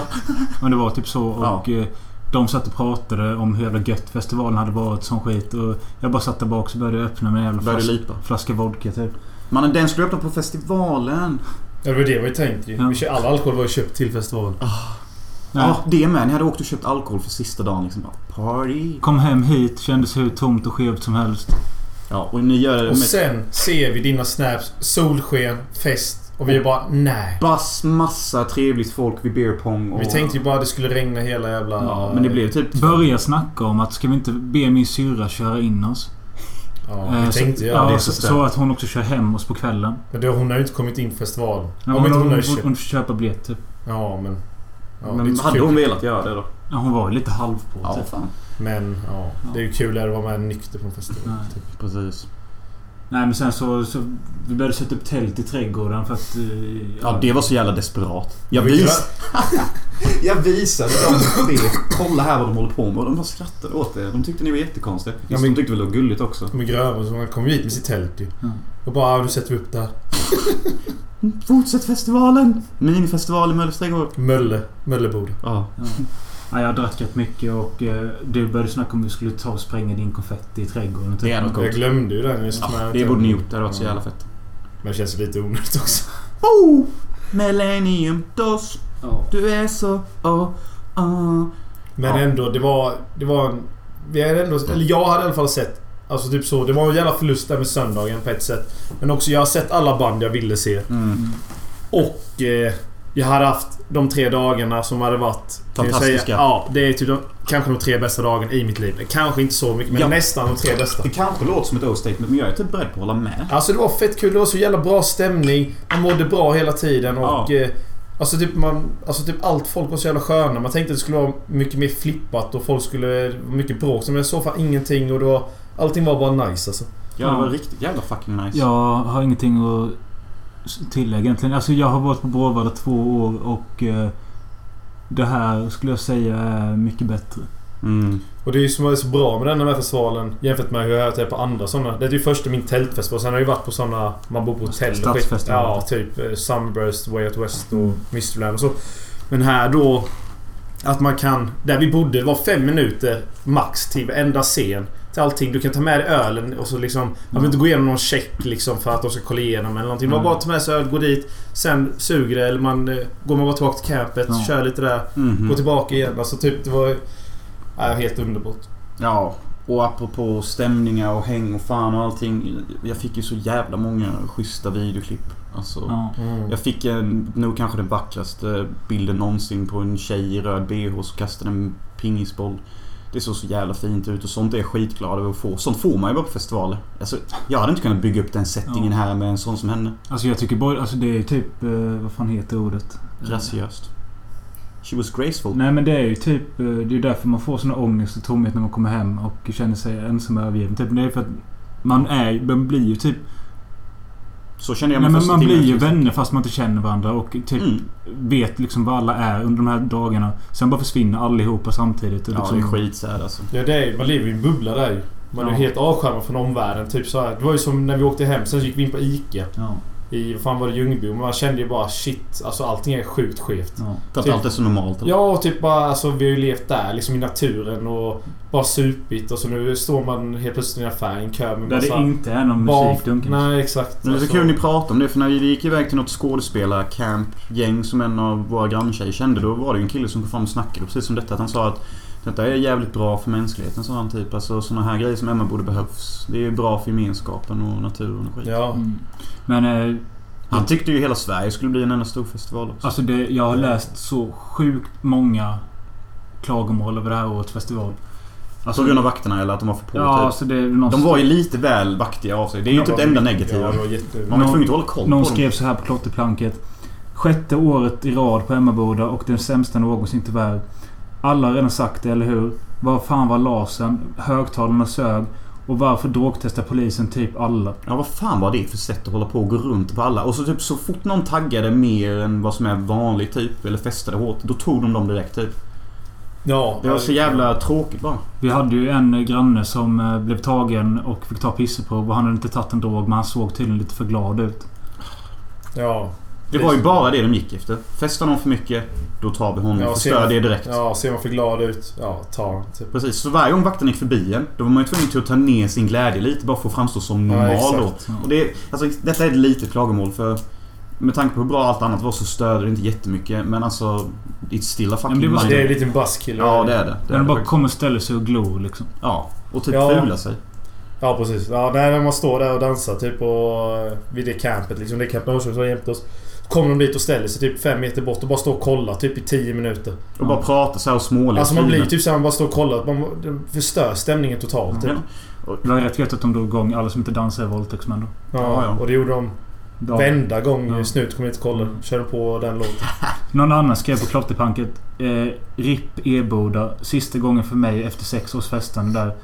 A: Men det var typ så. Och eh, De satt och pratade om hur jävla gött festivalen hade varit som skit. Och jag bara satt där bak så började jag öppna med en jävla
B: Började
A: flas-
B: lipa.
A: flaska vodka typ.
B: Mannen, den skulle jag öppna på festivalen.
H: Ja, det var det vi tänkte ju.
A: Ja.
H: Vi kö- All alkohol var ju köpt till festivalen.
A: Nej.
B: Ja, det med. Ni hade åkt och köpt alkohol för sista dagen liksom. Bara, Party.
A: Kom hem hit, kändes hur tomt och skevt som helst.
B: Ja, och ni gör det
H: Och sen ser vi dina snaps. Solsken, fest. Och vi är bara nej.
B: Bass, massa trevligt folk vid beer pong och...
H: Vi tänkte ju bara att det skulle regna hela jävla...
B: Ja, men det blev typ...
A: Börja snacka om att ska vi inte be min syrra köra in oss?
H: Ja, vi tänkte
A: så,
H: göra det
A: ja, så,
H: istället.
A: så att hon också kör hem oss på kvällen.
H: Men då, hon har ju inte kommit in på festivalen.
A: Ja,
H: Om
A: hon,
H: inte hon har
A: hon,
H: köpt...
A: hon får köpa typ. biljetter.
H: Ja, men... Ja,
B: Men
H: det är inte så
B: hade
H: kul.
B: hon velat göra det då?
A: Ja, hon var ju lite halv på
B: Ja,
A: typ.
B: fan.
H: Men ja, det är ju kul att vara med nykter på en festival.
A: Nej.
H: Typ.
B: Precis.
A: Nej men sen så, så... Vi började sätta upp tält i trädgården för att... eh,
B: Ja, det var så jävla desperat. Jag,
A: Vi
B: vis... jag visade dem det. Kolla här vad de håller på med. Och de bara skrattade åt det. De tyckte ni var jättekonstiga. Visst,
H: Ja, men-
B: de tyckte väl det var gulligt också.
H: De är gröna så man kommer hit med sitt tält ju.
A: Mm.
H: Och bara, ja, nu sätter vi upp det här.
B: Fortsätt festivalen! Minifestival i Möllers trädgård.
H: Mölle. Möllebod.
B: Ja.
A: Ja, jag drack rätt mycket och eh, du började snacka om att vi skulle ta och spränga din konfetti i trädgården. typ.
B: Det hade varit coolt.
H: Jag glömde ju den just
B: Ja,
H: med.
B: det borde ni gjort. Det hade varit så jävla fett.
H: Men det känns lite onödigt också.
B: Oh! Millennium dos. Du är så... Oh, oh.
H: Men ändå, det var... Det var en, vi hade ändå, eller jag hade i alla fall sett... Alltså typ så. Det var en jävla förlust där med söndagen på ett sätt. Men också, jag har sett alla band jag ville se.
B: Mm.
H: Och eh, jag hade haft de tre dagarna som hade varit... kan jag
B: Fantastiska.
H: Säga, ja, det är typ de, kanske de tre bästa dagarna i mitt liv. Kanske inte så mycket, men
B: Ja.
H: nästan de tre bästa.
B: Det kanske låter som ett O-statement, men jag är typ beredd på att hålla med.
H: Alltså det var fett kul. Det var så jävla bra stämning. Man mådde bra hela tiden och... Eh, alltså, typ man, alltså typ allt folk var så jävla sköna. Man tänkte att det skulle vara mycket mer flippat och folk skulle... det var Mycket bråk. Men jag såg fan ingenting och det var... Allting var bara nice alltså.
B: Ja, det var riktigt jävla fucking nice.
A: Jag har ingenting att s- tillägga egentligen. Alltså jag har varit på Bråvalla två år och eh, det här skulle jag säga är mycket bättre.
B: Mm.
H: Och det är ju som är så bra med den här festivalen jämfört med hur jag är typ på andra sådana. Det är ju först min tältfestival. Sen har jag ju varit på sådana... Man bor på hotell och skit.
A: Stadsfestival.
H: Ja, typ eh, Sunburst, Way Out West och
A: Mm.
H: Mysteryland och så. Men här då... Att man kan... Där vi bodde, det var fem minuter max till varenda scen. Till allting. Du kan ta med dig ölen och så liksom... Man behöver inte gå igenom någon check liksom för att de ska kolla igenom eller någonting. Man
A: Mm.
H: bara ta med sig öl, gå dit. Sen suger det eller man... eh, Går man bara tillbaka till campet,
A: Ja.
H: kör lite där.
B: Mhm.
H: Går tillbaka igen. Alltså typ det var... Ja, helt underbart.
B: Ja, och apropå stämningar och häng och fan och allting. Jag fick ju så jävla många schyssta videoklipp. Alltså,
A: Ja.
H: Mm.
B: Jag fick en, nog kanske den vackraste bilden någonsin på en tjej i röd bh som kastade en pingisboll. Det såg så jävla fint ut och sånt är jag skitglad över att få. Sånt får man ju bara på festivaler. Alltså, jag hade inte kunnat bygga upp den settingen
A: Ja.
B: här med en sån som henne.
A: Alltså jag tycker bara... Alltså det är typ... Eh, vad fan heter ordet?
B: Graciöst. She was graceful.
A: Mm. Nej men det är ju typ... eh, Det är ju därför man får sån ångest och tomhet när man kommer hem och känner sig ensam och övergiven. Typ, det är för att man är Man blir ju typ...
B: Så kände jag mig
A: Nej, men
B: första
A: man
B: timmen.
A: blir ju vänner fast man inte känner varandra och typ
B: Mm.
A: vet liksom vad alla är under de här dagarna. Sen bara försvinner allihopa samtidigt. Och
B: Ja,
A: liksom,
B: det är skitsär alltså.
H: Ja, det är, man lever i en bubbla där ju. Man är
A: Ja.
H: helt avskärmad från omvärlden. Typ så här. Det var ju som när vi åkte hem. Sen gick vi in på ICA.
B: alltså."
A: Ja.
H: I, vad fan var det, Ljungby? Och man kände ju bara shit. Alltså allting är sjukt skevt.
A: Ja.
B: För att
H: Typ-
B: allt är så normalt. eller?
H: Ja, och typ bara alltså, vi har ju levt där liksom i naturen och bara supit och så nu står man helt plötsligt i en affär i en kö med
A: Där det inte är någon
H: barn-
A: musik dunkas.
H: Nej, exakt.
B: Men det är så
H: Alltså,
B: kul ni pratar om det för när vi gick iväg till något skådespelarcamp gäng som en av våra granntjejer kände då var det ju en kille som kom fram och snackade precis som detta. Att han sa att Detta är jävligt bra för mänskligheten sa han typ. Alltså sådana här grejer som Emma borde behövs. Det är ju bra för gemenskapen och naturen och skit.
H: Ja.
A: Men... Eh,
B: han tyckte ju hela Sverige skulle bli en enda stor festival också.
A: Alltså det, jag har läst så sjukt många klagomål över det här årets festival.
B: Alltså, På grund av vakterna eller att de var för på
A: Ja,
B: typ.
A: alltså det är någon-
B: De var ju lite väl vaktiga av sig. Det är ju
A: Ja,
B: typ det
A: det-
B: enda negativa.
A: ja, det
H: var jätte-
B: Man var tvungen att hålla koll på
A: Någon
B: dem.
A: skrev så här på klotterplanket. Sjätte året i rad på Emmaboda och den sämsta någonsin tyvärr. Alla har redan sagt det, eller hur? Vad fan var Larsen? Högtalarna sög. Och varför drogtestar polisen typ alla?
B: Ja, vad fan var det för sätt att hålla på och gå runt på alla? Och så typ så fort någon taggade mer än vad som är vanligt typ, eller festade hårt, då tog de dem direkt typ.
H: Ja.
B: Det var så jävla tråkigt bara.
A: Vi hade ju en eh, granne som eh, blev tagen och fick ta pisseprov och han hade inte tagit en drog men han såg tydligen lite för glad ut.
H: Ja.
B: Det var ju bara det de gick efter. Festar någon för mycket, då tar vi honom.
H: Ja, ser
B: Förstör
H: man-
B: det direkt.
H: Ja, ser man för glad ut. Ja, ta den, typ.
B: Precis, så varje gång vakten gick förbi en, då var man ju tvungen till att ta ner sin glädje lite bara för att framstå som
H: Ja,
B: normal då.
H: exakt.
B: Och det, alltså, detta är ett litet klagomål för med tanke på hur bra allt annat var så störde det inte jättemycket. Men alltså, it's still a fucking
A: Men det var-
B: minor.
A: det är en liten buzzkill.
B: Ja, det är det. det,
A: Men
B: är
A: de bara
B: det.
A: kommer och ställer sig och glor liksom.
B: Ja, och typ
H: Ja.
B: fula sig.
H: Ja precis. Ja, nej, när man står där och dansar typ och, eh, vid det campet liksom. Det är Camp Norrköping som har hjälpt oss. Så Kommer de dit och ställer sig typ fem meter bort och bara står och kollar typ i tio minuter.
B: Och bara pratar så här och småler.
H: Alltså man blir typ såhär, man bara står och kollar. Man det förstör stämningen totalt. Typ.
A: Det var rätt gött att de drog igång alla som inte dansar är våldtäktsmän då.
H: Ja, Och det gjorde de
A: Ja.
H: vända gång. Snut kom hit och kollade. Körde på den låten.
A: Någon annan skrev på klotterpanket. Eh, RIP Eboda. Sista gången för mig efter sex års festande där.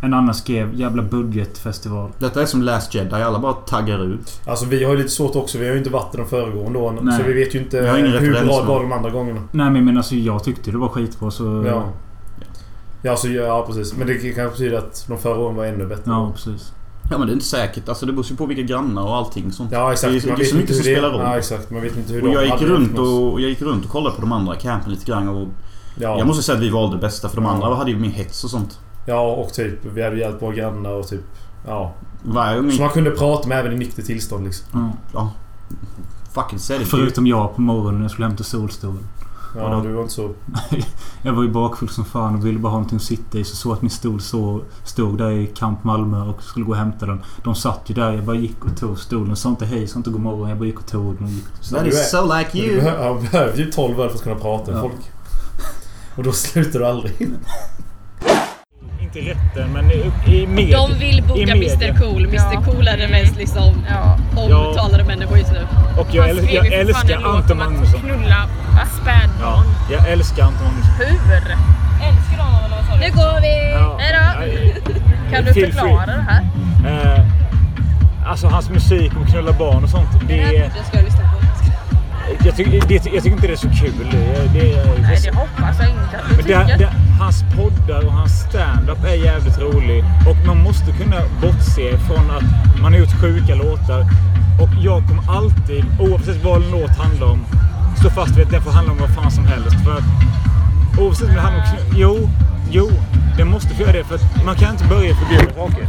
A: En annan skrev jävla budgetfestival.
H: typ-
B: Detta är som Last Jedi. Alla bara taggar ut.
H: Alltså vi har ju lite svårt också. Vi har ju inte varit i de föregående åren.
A: Nej.
H: Så vi vet ju inte
A: Vi har ingen
H: hur
A: referens
H: bra
A: nu.
H: det var de andra gångerna.
A: Nej men, men alltså jag tyckte det var skitbra så...
H: Ja. Ja, alltså, ja precis. Men det kanske betyder att de förra åren var ännu bättre.
A: Ja, precis.
B: Ja men det är inte säkert. Alltså det beror ju på vilka grannar och allting sånt.
H: Ja exakt.
B: Det är,
H: Man
B: det är
H: vet
B: så
H: inte
B: mycket som
H: hur det-
B: spelar roll.
H: Ja exakt. Man vet inte hur
B: och
H: de
B: jag gick,
H: hade
B: runt
H: det.
B: och, och jag gick runt och kollade på de andra campen lite grann. Och
H: Ja.
B: Jag måste säga att vi valde det bästa för de andra hade ju mer hets och sånt.
H: Ja och typ vi hade hjälpt våra grannar och typ... Ja.
B: Varje gång
H: Så
B: ni-
H: man kunde prata med även i nykter tillstånd liksom.
A: Mm.
B: Ja. Fucking sälj.
A: Förutom jag på morgonen när jag skulle hämta solstolen.
H: Ja, du var inte så...
A: jag var ju bakfull som fan och ville bara ha någonting att sitta i. Så såg att min stol så, stod där i Camp Malmö och skulle gå och hämta den. De satt ju där. Jag bara gick och tog stolen. Sa inte hej, sa inte god morgon. Jag bara gick och tog den. Och gick.
H: Men du är- men Du behöver, ja, du behöver ju 12 öl för att kunna prata med
A: Ja.
H: folk. Och då slutar du aldrig.
D: Inte rätten, men i, i med,
T: De vill boka
D: i
T: Mr Cool. Mr Cool är den mest liksom omtalade människan just nu.
D: Och jag,
T: Han
D: äl,
T: skrev
D: jag
T: ju för fan en
D: älskar
T: låt
D: Anton
T: om att
D: Magnusson.
T: Knulla
D: Ja,
T: spädbarn.
D: jag älskar Anton Magnusson.
T: Hur? Älskar honom eller vad sa du? Nu går vi!
D: Ja.
T: Hejdå! Kan du
D: Feel
T: förklara
D: free.
T: det här?
D: Eh, alltså hans musik och knulla barn och sånt. Det, är-
T: Jag ska lyssna på.
D: jag, tycker- det, jag tycker inte det är så kul. Det, det,
T: Nej, det hoppas jag inte att du
D: Men det,
T: tycker.
D: det, hans poddar och hans stand-up är jävligt rolig. Och man måste kunna bortse från att man har gjort sjuka låtar. Och jag kommer alltid, oavsett vad en låt handlar om, stå fast vid att den får handla om vad fan som helst. För att oavsett om det handlar om knu- Jo, jo. Den måste få göra det. För att man kan inte börja förbjuda saker.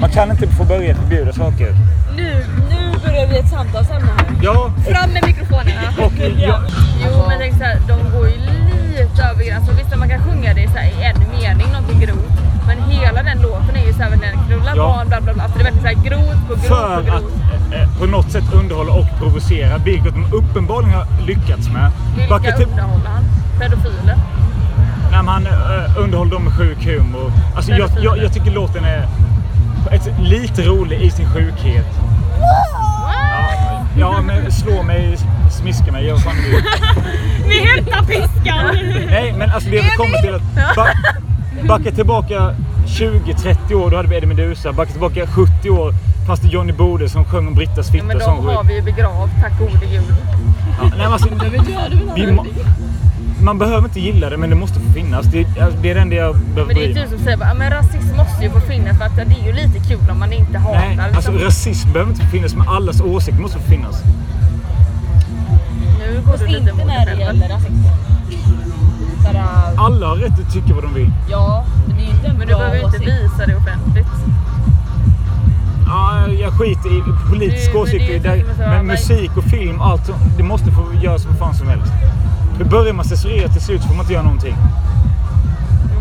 D: Man kan inte få börja förbjuda saker.
T: Nu, nu börjar vi ett samtalsämne här.
D: Ja, och-
T: Fram med mikrofonerna!
D: Och- ja.
T: Jo men tänk såhär, de går ju lite över gränsen. Visst man kan sjunga det i, så här, i en mening, någonting grovt. Men hela den låten är ju såhär, den knullar
D: Ja.
T: barn, bla bla bla. Alltså det är verkligen såhär grovt på
D: för
T: grovt på
D: att
T: grovt.
D: eh, eh, på något sätt underhålla och provocera, vilket de uppenbarligen har lyckats med. Bara
T: Vilka
D: typ-
T: underhåller han? Pedofiler?
D: när man eh, underhåller dem med sjuk humor. Alltså, jag, jag, jag tycker låten är på ett, sätt lite rolig i sin sjukhet. Ja, ja men slå mig, smiska mig, gör vad fan du vill.
T: Ni hämtar piskan!
D: Nej, men alltså det vi kommer till att... Ba backa tillbaka 20-30 år, då hade vi Eddie Meduza. Backa tillbaka 70 år, fanns det Johnny Bode som sjöng om Brittas
T: Men
D: fitta som
T: de
D: sjuk.
T: har vi ju begravt, tack gode gud.
D: Ja, nej, men alltså, vi må- man behöver inte gilla det, men det måste få finnas. Det, alltså, det är det enda jag
T: Men
D: behöver
T: det är
D: bry
T: ju
D: mig
Q: typ
T: du
D: om.
T: som säger bara, men rasism måste ju få finnas för att det är ju lite kul om man inte hatar.
D: Nej, alltså
T: liksom.
D: rasism behöver inte få finnas, men allas åsikt måste få finnas.
T: Nu går du lite mot dig själv.
D: Alla har rätt att tycka vad de vill.
T: äh, Ja, men det är ju inte en Men du
U: bra
T: behöver ju inte
U: åsikt.
T: visa det offentligt.
D: Ja, jag skiter i politiska
T: Det- men det är ju
D: åsikter, där,
T: inte så-
D: men
T: nej.
D: musik och film, allt sånt, det måste få göras vad fan som helst. För börjar man censurera till slut får man inte göra någonting.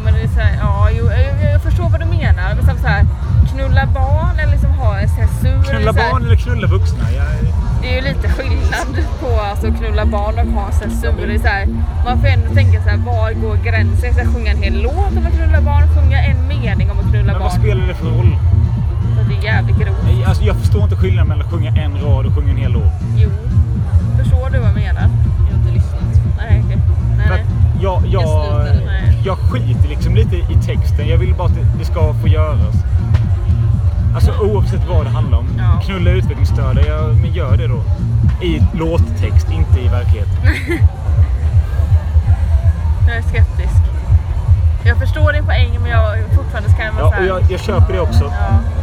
Q: men det är så här, ja, jo, jag, jag förstår vad du menar. Men som så här, knulla barn eller liksom ha en censur.
D: Knulla barn eller knulla vuxna? Jag...
Q: Det är ju lite skillnad på alltså, att knulla barn och ha censur. Det är så här, man får ändå tänka så här, var går gränsen? Ska jag sjunga en hel låt om att knulla barn? Sjunga en mening om att knulla
D: Men vad
Q: barn?
D: spelar det för roll?
Q: Så det är jävligt grovt.
D: Nej, Alltså, jag förstår inte skillnaden mellan att sjunga en rad och sjunga en hel låt.
Q: Jo, förstår du vad jag menar? Jag har inte lyssnat. Nej, okej.
D: För
Q: Nej.
D: att jag, jag, jag skiter liksom lite i texten. Jag vill bara att det ska få göras. Alltså oavsett vad det handlar om. Knulla utvecklingsstörda, ja, men gör det då. I låttext, inte i verkligheten.
Q: Jag är skeptisk. Jag förstår din poäng men jag fortfarande ska jag vara
D: Ja, och
Q: så här.
D: jag, jag köper det också.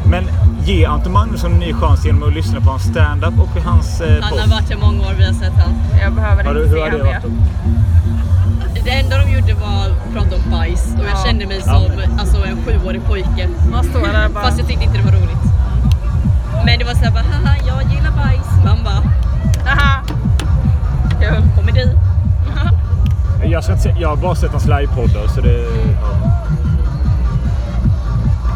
D: Men ge Anton Magnusson en ny chans genom att lyssna på hans stand-up och på hans eh,
I: Han har
D: podd.
I: varit här många år, vi har sett han.
Q: Jag behöver
D: Har du- inte hur se har det han varit mer.
I: Det enda de gjorde var att prata om bajs och jag
Q: Ja.
I: kände mig
Q: Ja,
I: som alltså, en sjuårig pojke.
Q: Man står där bara-
I: Fast jag tyckte inte det var roligt. Men det var såhär bara haha jag gillar bajs. Man bara
Q: haha. Kul.
I: Komedi.
D: Jag, ska inte se, jag har bara sett hans livepoddar så det... Ja.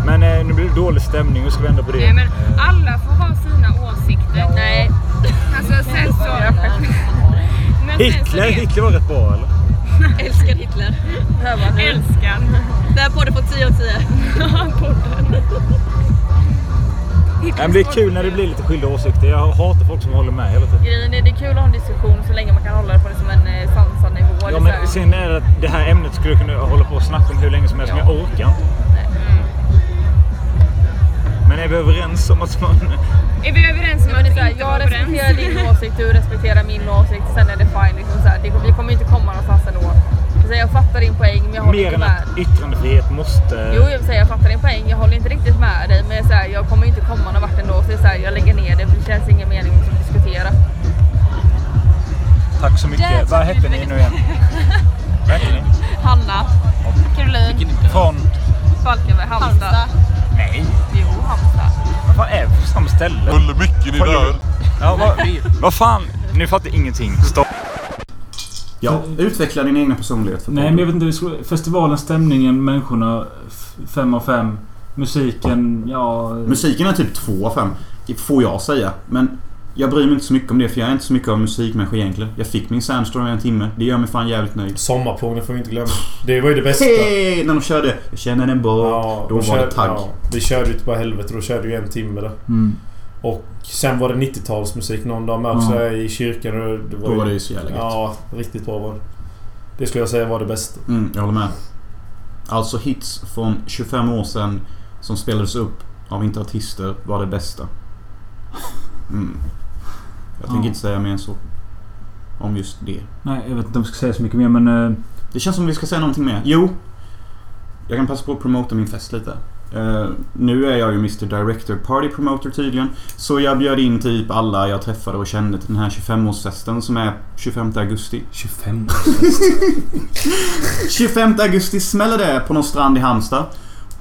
D: Men eh, nu blir det dålig stämning, hur ska vi ändra på det?
Q: Nej men alla får ha sina åsikter. Nej. Alltså sen så... Men sen så
D: Hitler,
Q: det-
D: Hitler var rätt bra eller?
I: älskar Hitler.
Q: Älskar.
I: Den här podden får 10 av 10. podden.
D: Nej, men det är kul när det blir lite skilda åsikter. Jag hatar folk som håller med hela tiden.
Q: Grejen är det är kul att ha en diskussion så länge man kan hålla det på liksom en eh, sansad nivå.
D: Ja,
Q: liksom.
D: men sen är det att det här ämnet skulle jag kunna hålla på och snacka om hur länge som helst, men jag orkar inte.
Q: mm.
D: Men är vi överens om att man...
Q: Är vi överens om att det är så här, jag respekterar din åsikt, du respekterar min åsikt, sen är det fine. Liksom så här. Det, vi kommer inte komma någonstans ändå. Så jag fattar din poäng men jag håller
D: Mer
Q: inte
D: än
Q: med.
D: att yttrandefrihet måste...
Q: Jo, jag, säger, jag fattar din poäng. Jag håller inte riktigt med dig, men jag, så här, jag kommer inte komma någon vart ändå. Så, det är så här, jag lägger ner det, för det känns ingen mening att diskutera.
D: Tack så mycket. Vad hette ni nu igen? Vad hette ni?
Q: Hanna. Caroline.
D: Från...
Q: Falkenberg. Halmstad.
D: Nej.
Q: Jo, Halmstad.
D: Vad fan är vi på samma ställe? Ullebycken
V: i dörr.
D: Ja, vad, vad fan? Nu fattar jag ingenting. Stopp.
B: Ja, utveckla din egna personlighet. För
A: Nej, men jag vet inte. vi skulle- Festivalen, stämningen, människorna. f- Fem av fem. Musiken, ja...
B: Musiken är typ 2 av 5. Får jag säga. Men jag bryr mig inte så mycket om det för jag är inte så mycket av en musikmänniska egentligen. Jag fick min Sandstorm i en timme. Det gör mig fan jävligt nöjd.
H: Sommarpågen får vi inte glömma. Det var ju det bästa.
B: Hej! När de körde Jag känner en båt. då
H: de
B: var
H: kör-
B: det tagg.
H: ja, vi körde ju inte bara helvete. Då körde vi en timme där.
A: Mm.
H: Och sen var det 90-talsmusik någon dag med också i kyrkan. Och det
B: Då
H: ju-
B: var det ju så jävla gött.
H: Ja, riktigt bra var det. Det skulle jag säga var det bästa.
B: Mm, jag håller med. Alltså hits från 25 år sedan som spelades upp av inte artister var det bästa. Mm. Jag tänker
A: Ja.
B: inte säga mer än så. Om just det.
A: Nej, jag vet inte om jag ska säga så mycket mer men... eh,
B: Det känns som vi ska säga någonting mer. Jo! Jag kan passa på att promota min fest lite. Eh, nu är jag ju Mr Director Party Promoter tydligen. Så jag bjöd in typ alla jag träffade och kände till den här 25-årsfesten som är 25 augusti.
A: 25
B: 25 augusti smäller det på någon strand i Halmstad.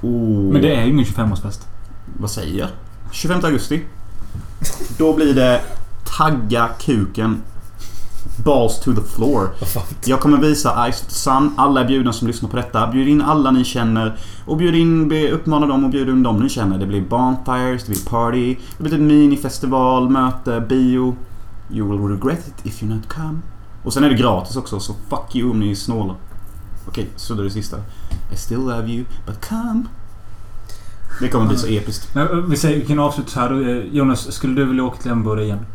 B: Och...
A: Men det är ju ingen 25-årsfest.
B: Vad säger jag? 25 augusti. Då blir det Tagga kuken. Balls to the floor. Jag kommer visa Ice to the Sun. Alla är bjudna som lyssnar på detta. Bjud in alla ni känner. Och bjud in, be- uppmana dem och bjud in dem ni känner. Det blir bonfires, det blir party. Det blir ett minifestival, möte, bio. You will regret it if you not come. Och sen är det gratis också, så fuck you om ni är snåla. Okej, så det är det sista. I still love you, but come. Det kommer bli så episkt.
A: Men, eh, vi, säger, vi kan avsluta så här. då. Eh, Jonas, skulle du vilja åka till Edinburgh igen?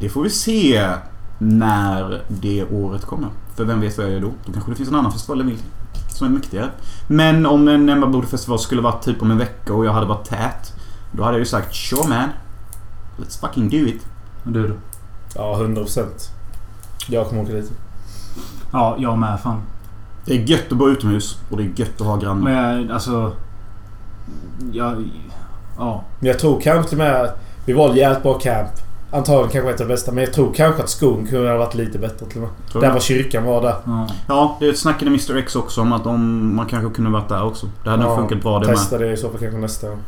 B: Det får vi se när det året kommer. För vem vet vad jag gör då? Då kanske det finns en annan festival jag vill till, Som är mäktigare. Men om en Emma Bode festival skulle vara typ om en vecka och jag hade varit tät. Då hade jag ju sagt sure man. Let's fucking do it.
A: Och du då?
H: Ja, 100%. Jag kommer åka dit.
A: Ja, jag med fan.
B: Det är gött att bo utomhus och det är gött att ha grannar.
A: Men jag, alltså... Jag... Ja.
H: Men jag tror kanske till och med... Vi valde jävligt bra camp. Antagligen kanske ett av de bästa. Men jag tror kanske att skogen kunde ha varit lite bättre till och
B: Tror
H: med.
B: du?
H: Där var kyrkan var där.
B: Ja, det snackade Mr X också om att om man kanske kunde varit där också. Det hade nog funkat bra det
H: Testa
B: med.
H: det i så fall kanske nästa gång.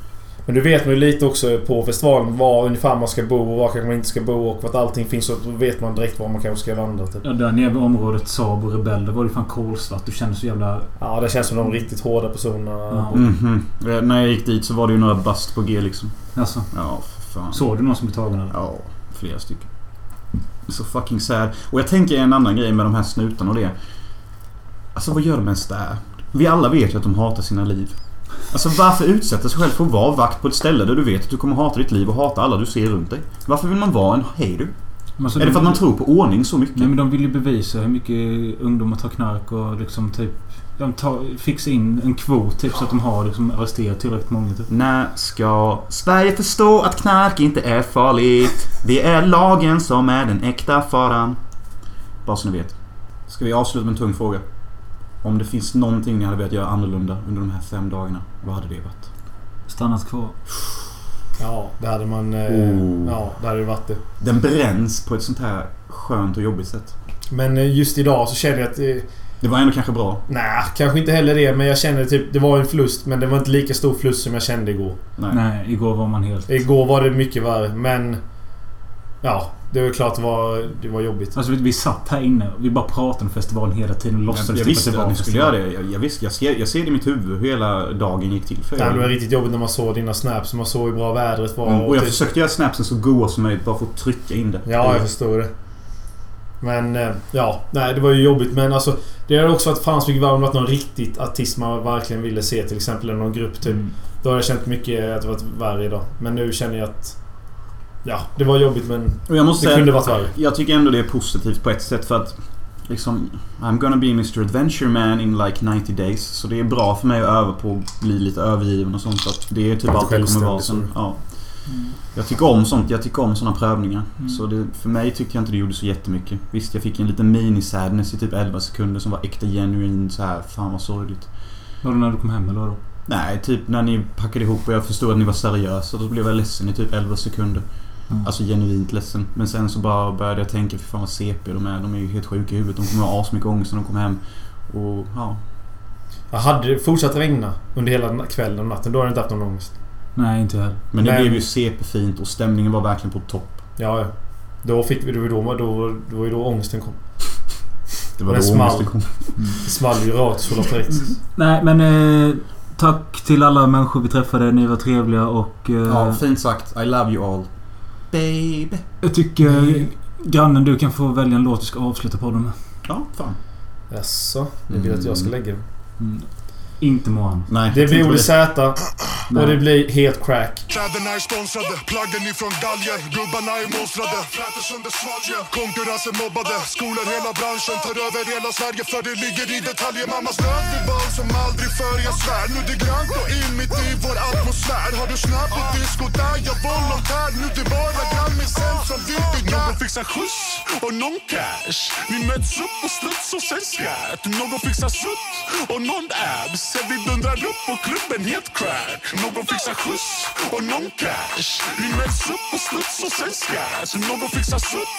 H: Men du vet man ju lite också på festivalen var ungefär man ska bo och var kanske man inte ska bo och vart allting finns. Så då vet man direkt var man kanske ska vandra. Typ.
A: Ja, där nere vid området Saab och Rebell, där var det fan kolsvart. Du kände så jävla...
H: Ja, det känns som de riktigt hårda personerna.
B: Mhm. Eh, När jag gick dit så var det ju några bast på G liksom.
A: Alltså.
B: Ja, för fan.
A: Såg du någon som blev tagen eller?
B: Ja, flera stycken. Så fucking sad. Och jag tänker en annan grej med de här snutarna och det. Alltså vad gör de ens där? Vi alla vet ju att de hatar sina liv. Alltså varför utsätta sig själv för att vara vakt på ett ställe där du vet att du kommer hata ditt liv och hata alla du ser runt dig? Varför vill man vara en hater?
A: Men alltså,
B: är
A: de-
B: det för att man tror på ordning så mycket?
A: Nej men de vill ju bevisa hur mycket ungdomar tar knark och liksom typ... De tar, fixar in en kvot typ så att de har liksom arresterat tillräckligt många typ.
B: När ska Sverige förstå att knark inte är farligt? Det är lagen som är den äkta faran. Bara så ni vet. Ska vi avsluta med en tung fråga? Om det finns någonting ni hade velat göra annorlunda under de här fem dagarna, vad hade det varit?
A: Stannat kvar.
H: Ja, det hade man... Eh,
B: Oh.
H: Ja, det hade varit det.
B: Den bränns på ett sånt här skönt och jobbigt sätt.
H: Men eh, just idag så känner jag att... Eh,
B: Det var ändå kanske bra.
H: Nej, kanske inte heller det. Men jag kände typ... Det var en förlust, men det var inte lika stor förlust som jag kände igår.
B: Nej.
A: igår var man helt...
H: Igår var det mycket värre, men... Ja, det var klart det var, det var jobbigt.
A: Alltså vi, vi satt här inne och vi bara pratade om festivalen hela tiden och låtsades
B: Jag, jag
A: typ
B: visste
A: var
B: att
A: en
B: ni skulle göra
A: festival.
B: det. Jag, jag, visste, jag, ser, jag ser det i mitt huvud hur hela dagen gick till för
H: Nej, det var
B: er.
H: riktigt jobbigt när man såg dina snaps. Man såg hur bra vädret var.
B: Mm, Och jag
H: typ-
B: försökte göra snapsen så goa som möjligt bara för att trycka in det.
H: Ja, jag förstår det. Men eh, ja, nej det var ju jobbigt. Men alltså det hade också varit fan så mycket värre om det varit någon riktigt artist man verkligen ville se. Till exempel eller någon grupp typ.
B: Mm.
H: Då hade jag känt mycket att det varit värre idag. Men nu känner jag att... Ja, det var jobbigt men
B: Och jag måste
H: det
B: säga,
H: kunde varit värre.
B: Jag tycker ändå det är positivt på ett sätt för att liksom I'm gonna be Mr Adventure Man in like 90 days. Så det är bra för mig att öva på att bli lite övergiven och sånt. Så att det är typ allt jag kommer vara sen. Ja. Jag tycker om sånt. Jag tycker om såna prövningar.
A: Mm.
B: Så det, för mig tyckte jag inte det gjorde så jättemycket. Visst, jag fick en liten mini-sadness i typ 11 sekunder som var äkta genuin så här. Fan vad sorgligt.
A: Var det när du kom hem eller vadå?
B: Nej, typ när ni packade ihop och jag förstod att ni var seriösa. Då blev jag ledsen i typ 11 sekunder.
A: Mm.
B: Alltså genuint ledsen. Men sen så bara började jag tänka, för fan vad CP de är. De är ju helt sjuka i huvudet. De kommer ha asmycket ångest när de kommer hem. Och ja.
H: Jag hade det fortsatt regna under hela na- kvällen och natten. Då hade jag inte haft någon ångest.
A: Nej, inte jag heller.
B: Men det
H: Men-
B: blev ju CP-fint och stämningen var verkligen på topp.
H: Ja, ja. Då fick vi... Det var ju då, då, då, var ju då ångesten kom.
B: Det var
H: Den
B: då
H: small.
B: ångesten kom.
H: Det small ju rakt så långt direkt.
A: Nej men eh, tack till alla människor vi träffade. Ni var trevliga och... Eh,
B: Ja, fint sagt. I love you all. Baby.
A: Jag tycker... Grannen, du kan få välja en låt du ska avsluta podden med.
B: Ja, fan.
H: Jaså? Du vill att jag ska lägga den?
A: Mm. Inte Mohan.
B: Nej.
H: Det blir Olle Z.
A: Nej.
H: Och det blir helt crack.
W: Kläderna är sponsrade, plaggen ifrån galger Gubbarna är monstrade, flätor Ah! sönder Ah! svalgen Konkurrensen mobbade, skolor hela branschen Tar över hela Sverige för det ligger i detaljer Mammas lön till barn som aldrig förr, jag svär Nu det grönt och in mitt i vår atmosfär Har du snö på disco där jag volontär Nu det bara grammisen som vill bygga Ah! Någon fixar skjuts och någon cash Vi möts upp och struts och sen skratt Någon fixar sutt och någon abs Sen vi dundrar upp och klubben helt crack Någon fixar skjuts och någon cash Vi möts upp och struts och sen skratt Någon fixar sutt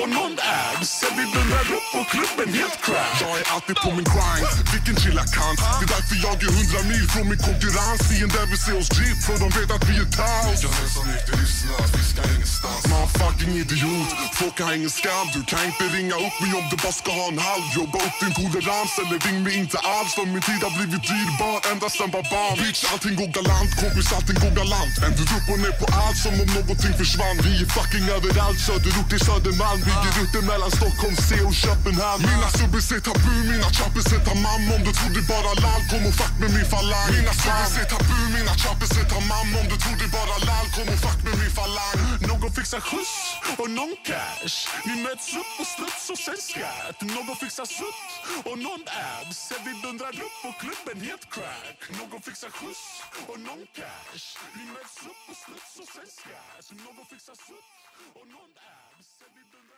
W: och någon abs Sen vi dundrar upp och klubben helt crack Jag är alltid på min grind, vilken chillakant Det är därför jag är hundra mil från min konkurrens Fienden vill se oss drip för de vet att vi är taus Jag är som inte lyssnar, vi ska ingenstans Man fucking idiot, folk har ingen skam Du kan inte ringa upp mig om du bara ska ha en halv Jobba upp din tolerans eller ring mig inte alls För min tid har blivit dyrbar ända sen var barn Bitch, allting går galant, kompis allting går galant Vänder upp och ner på allt som om någonting försvann Vi är fucking överallt, söderort till Södermalm Vi är rutten mellan Stockholm C och Köpenhamn Mina subbis är tabu, mina chappis är tamam Om du tror det bara lall, kom och fuck med min falang Mina subbis är tabu, mina chappis är tamam Om du tror det bara lall, kom och fuck med min falang Någon fixar skjuts och någon cash Vi möts upp och struts och sen skratt Någon fixar sutt och någon abs Sen vi dundrar upp och klubben helt crack Någon fixar skjuts och någon cash Vi möts upp och struts och sen skratt Någon fixar sutt och någon abs Sen vi dundrar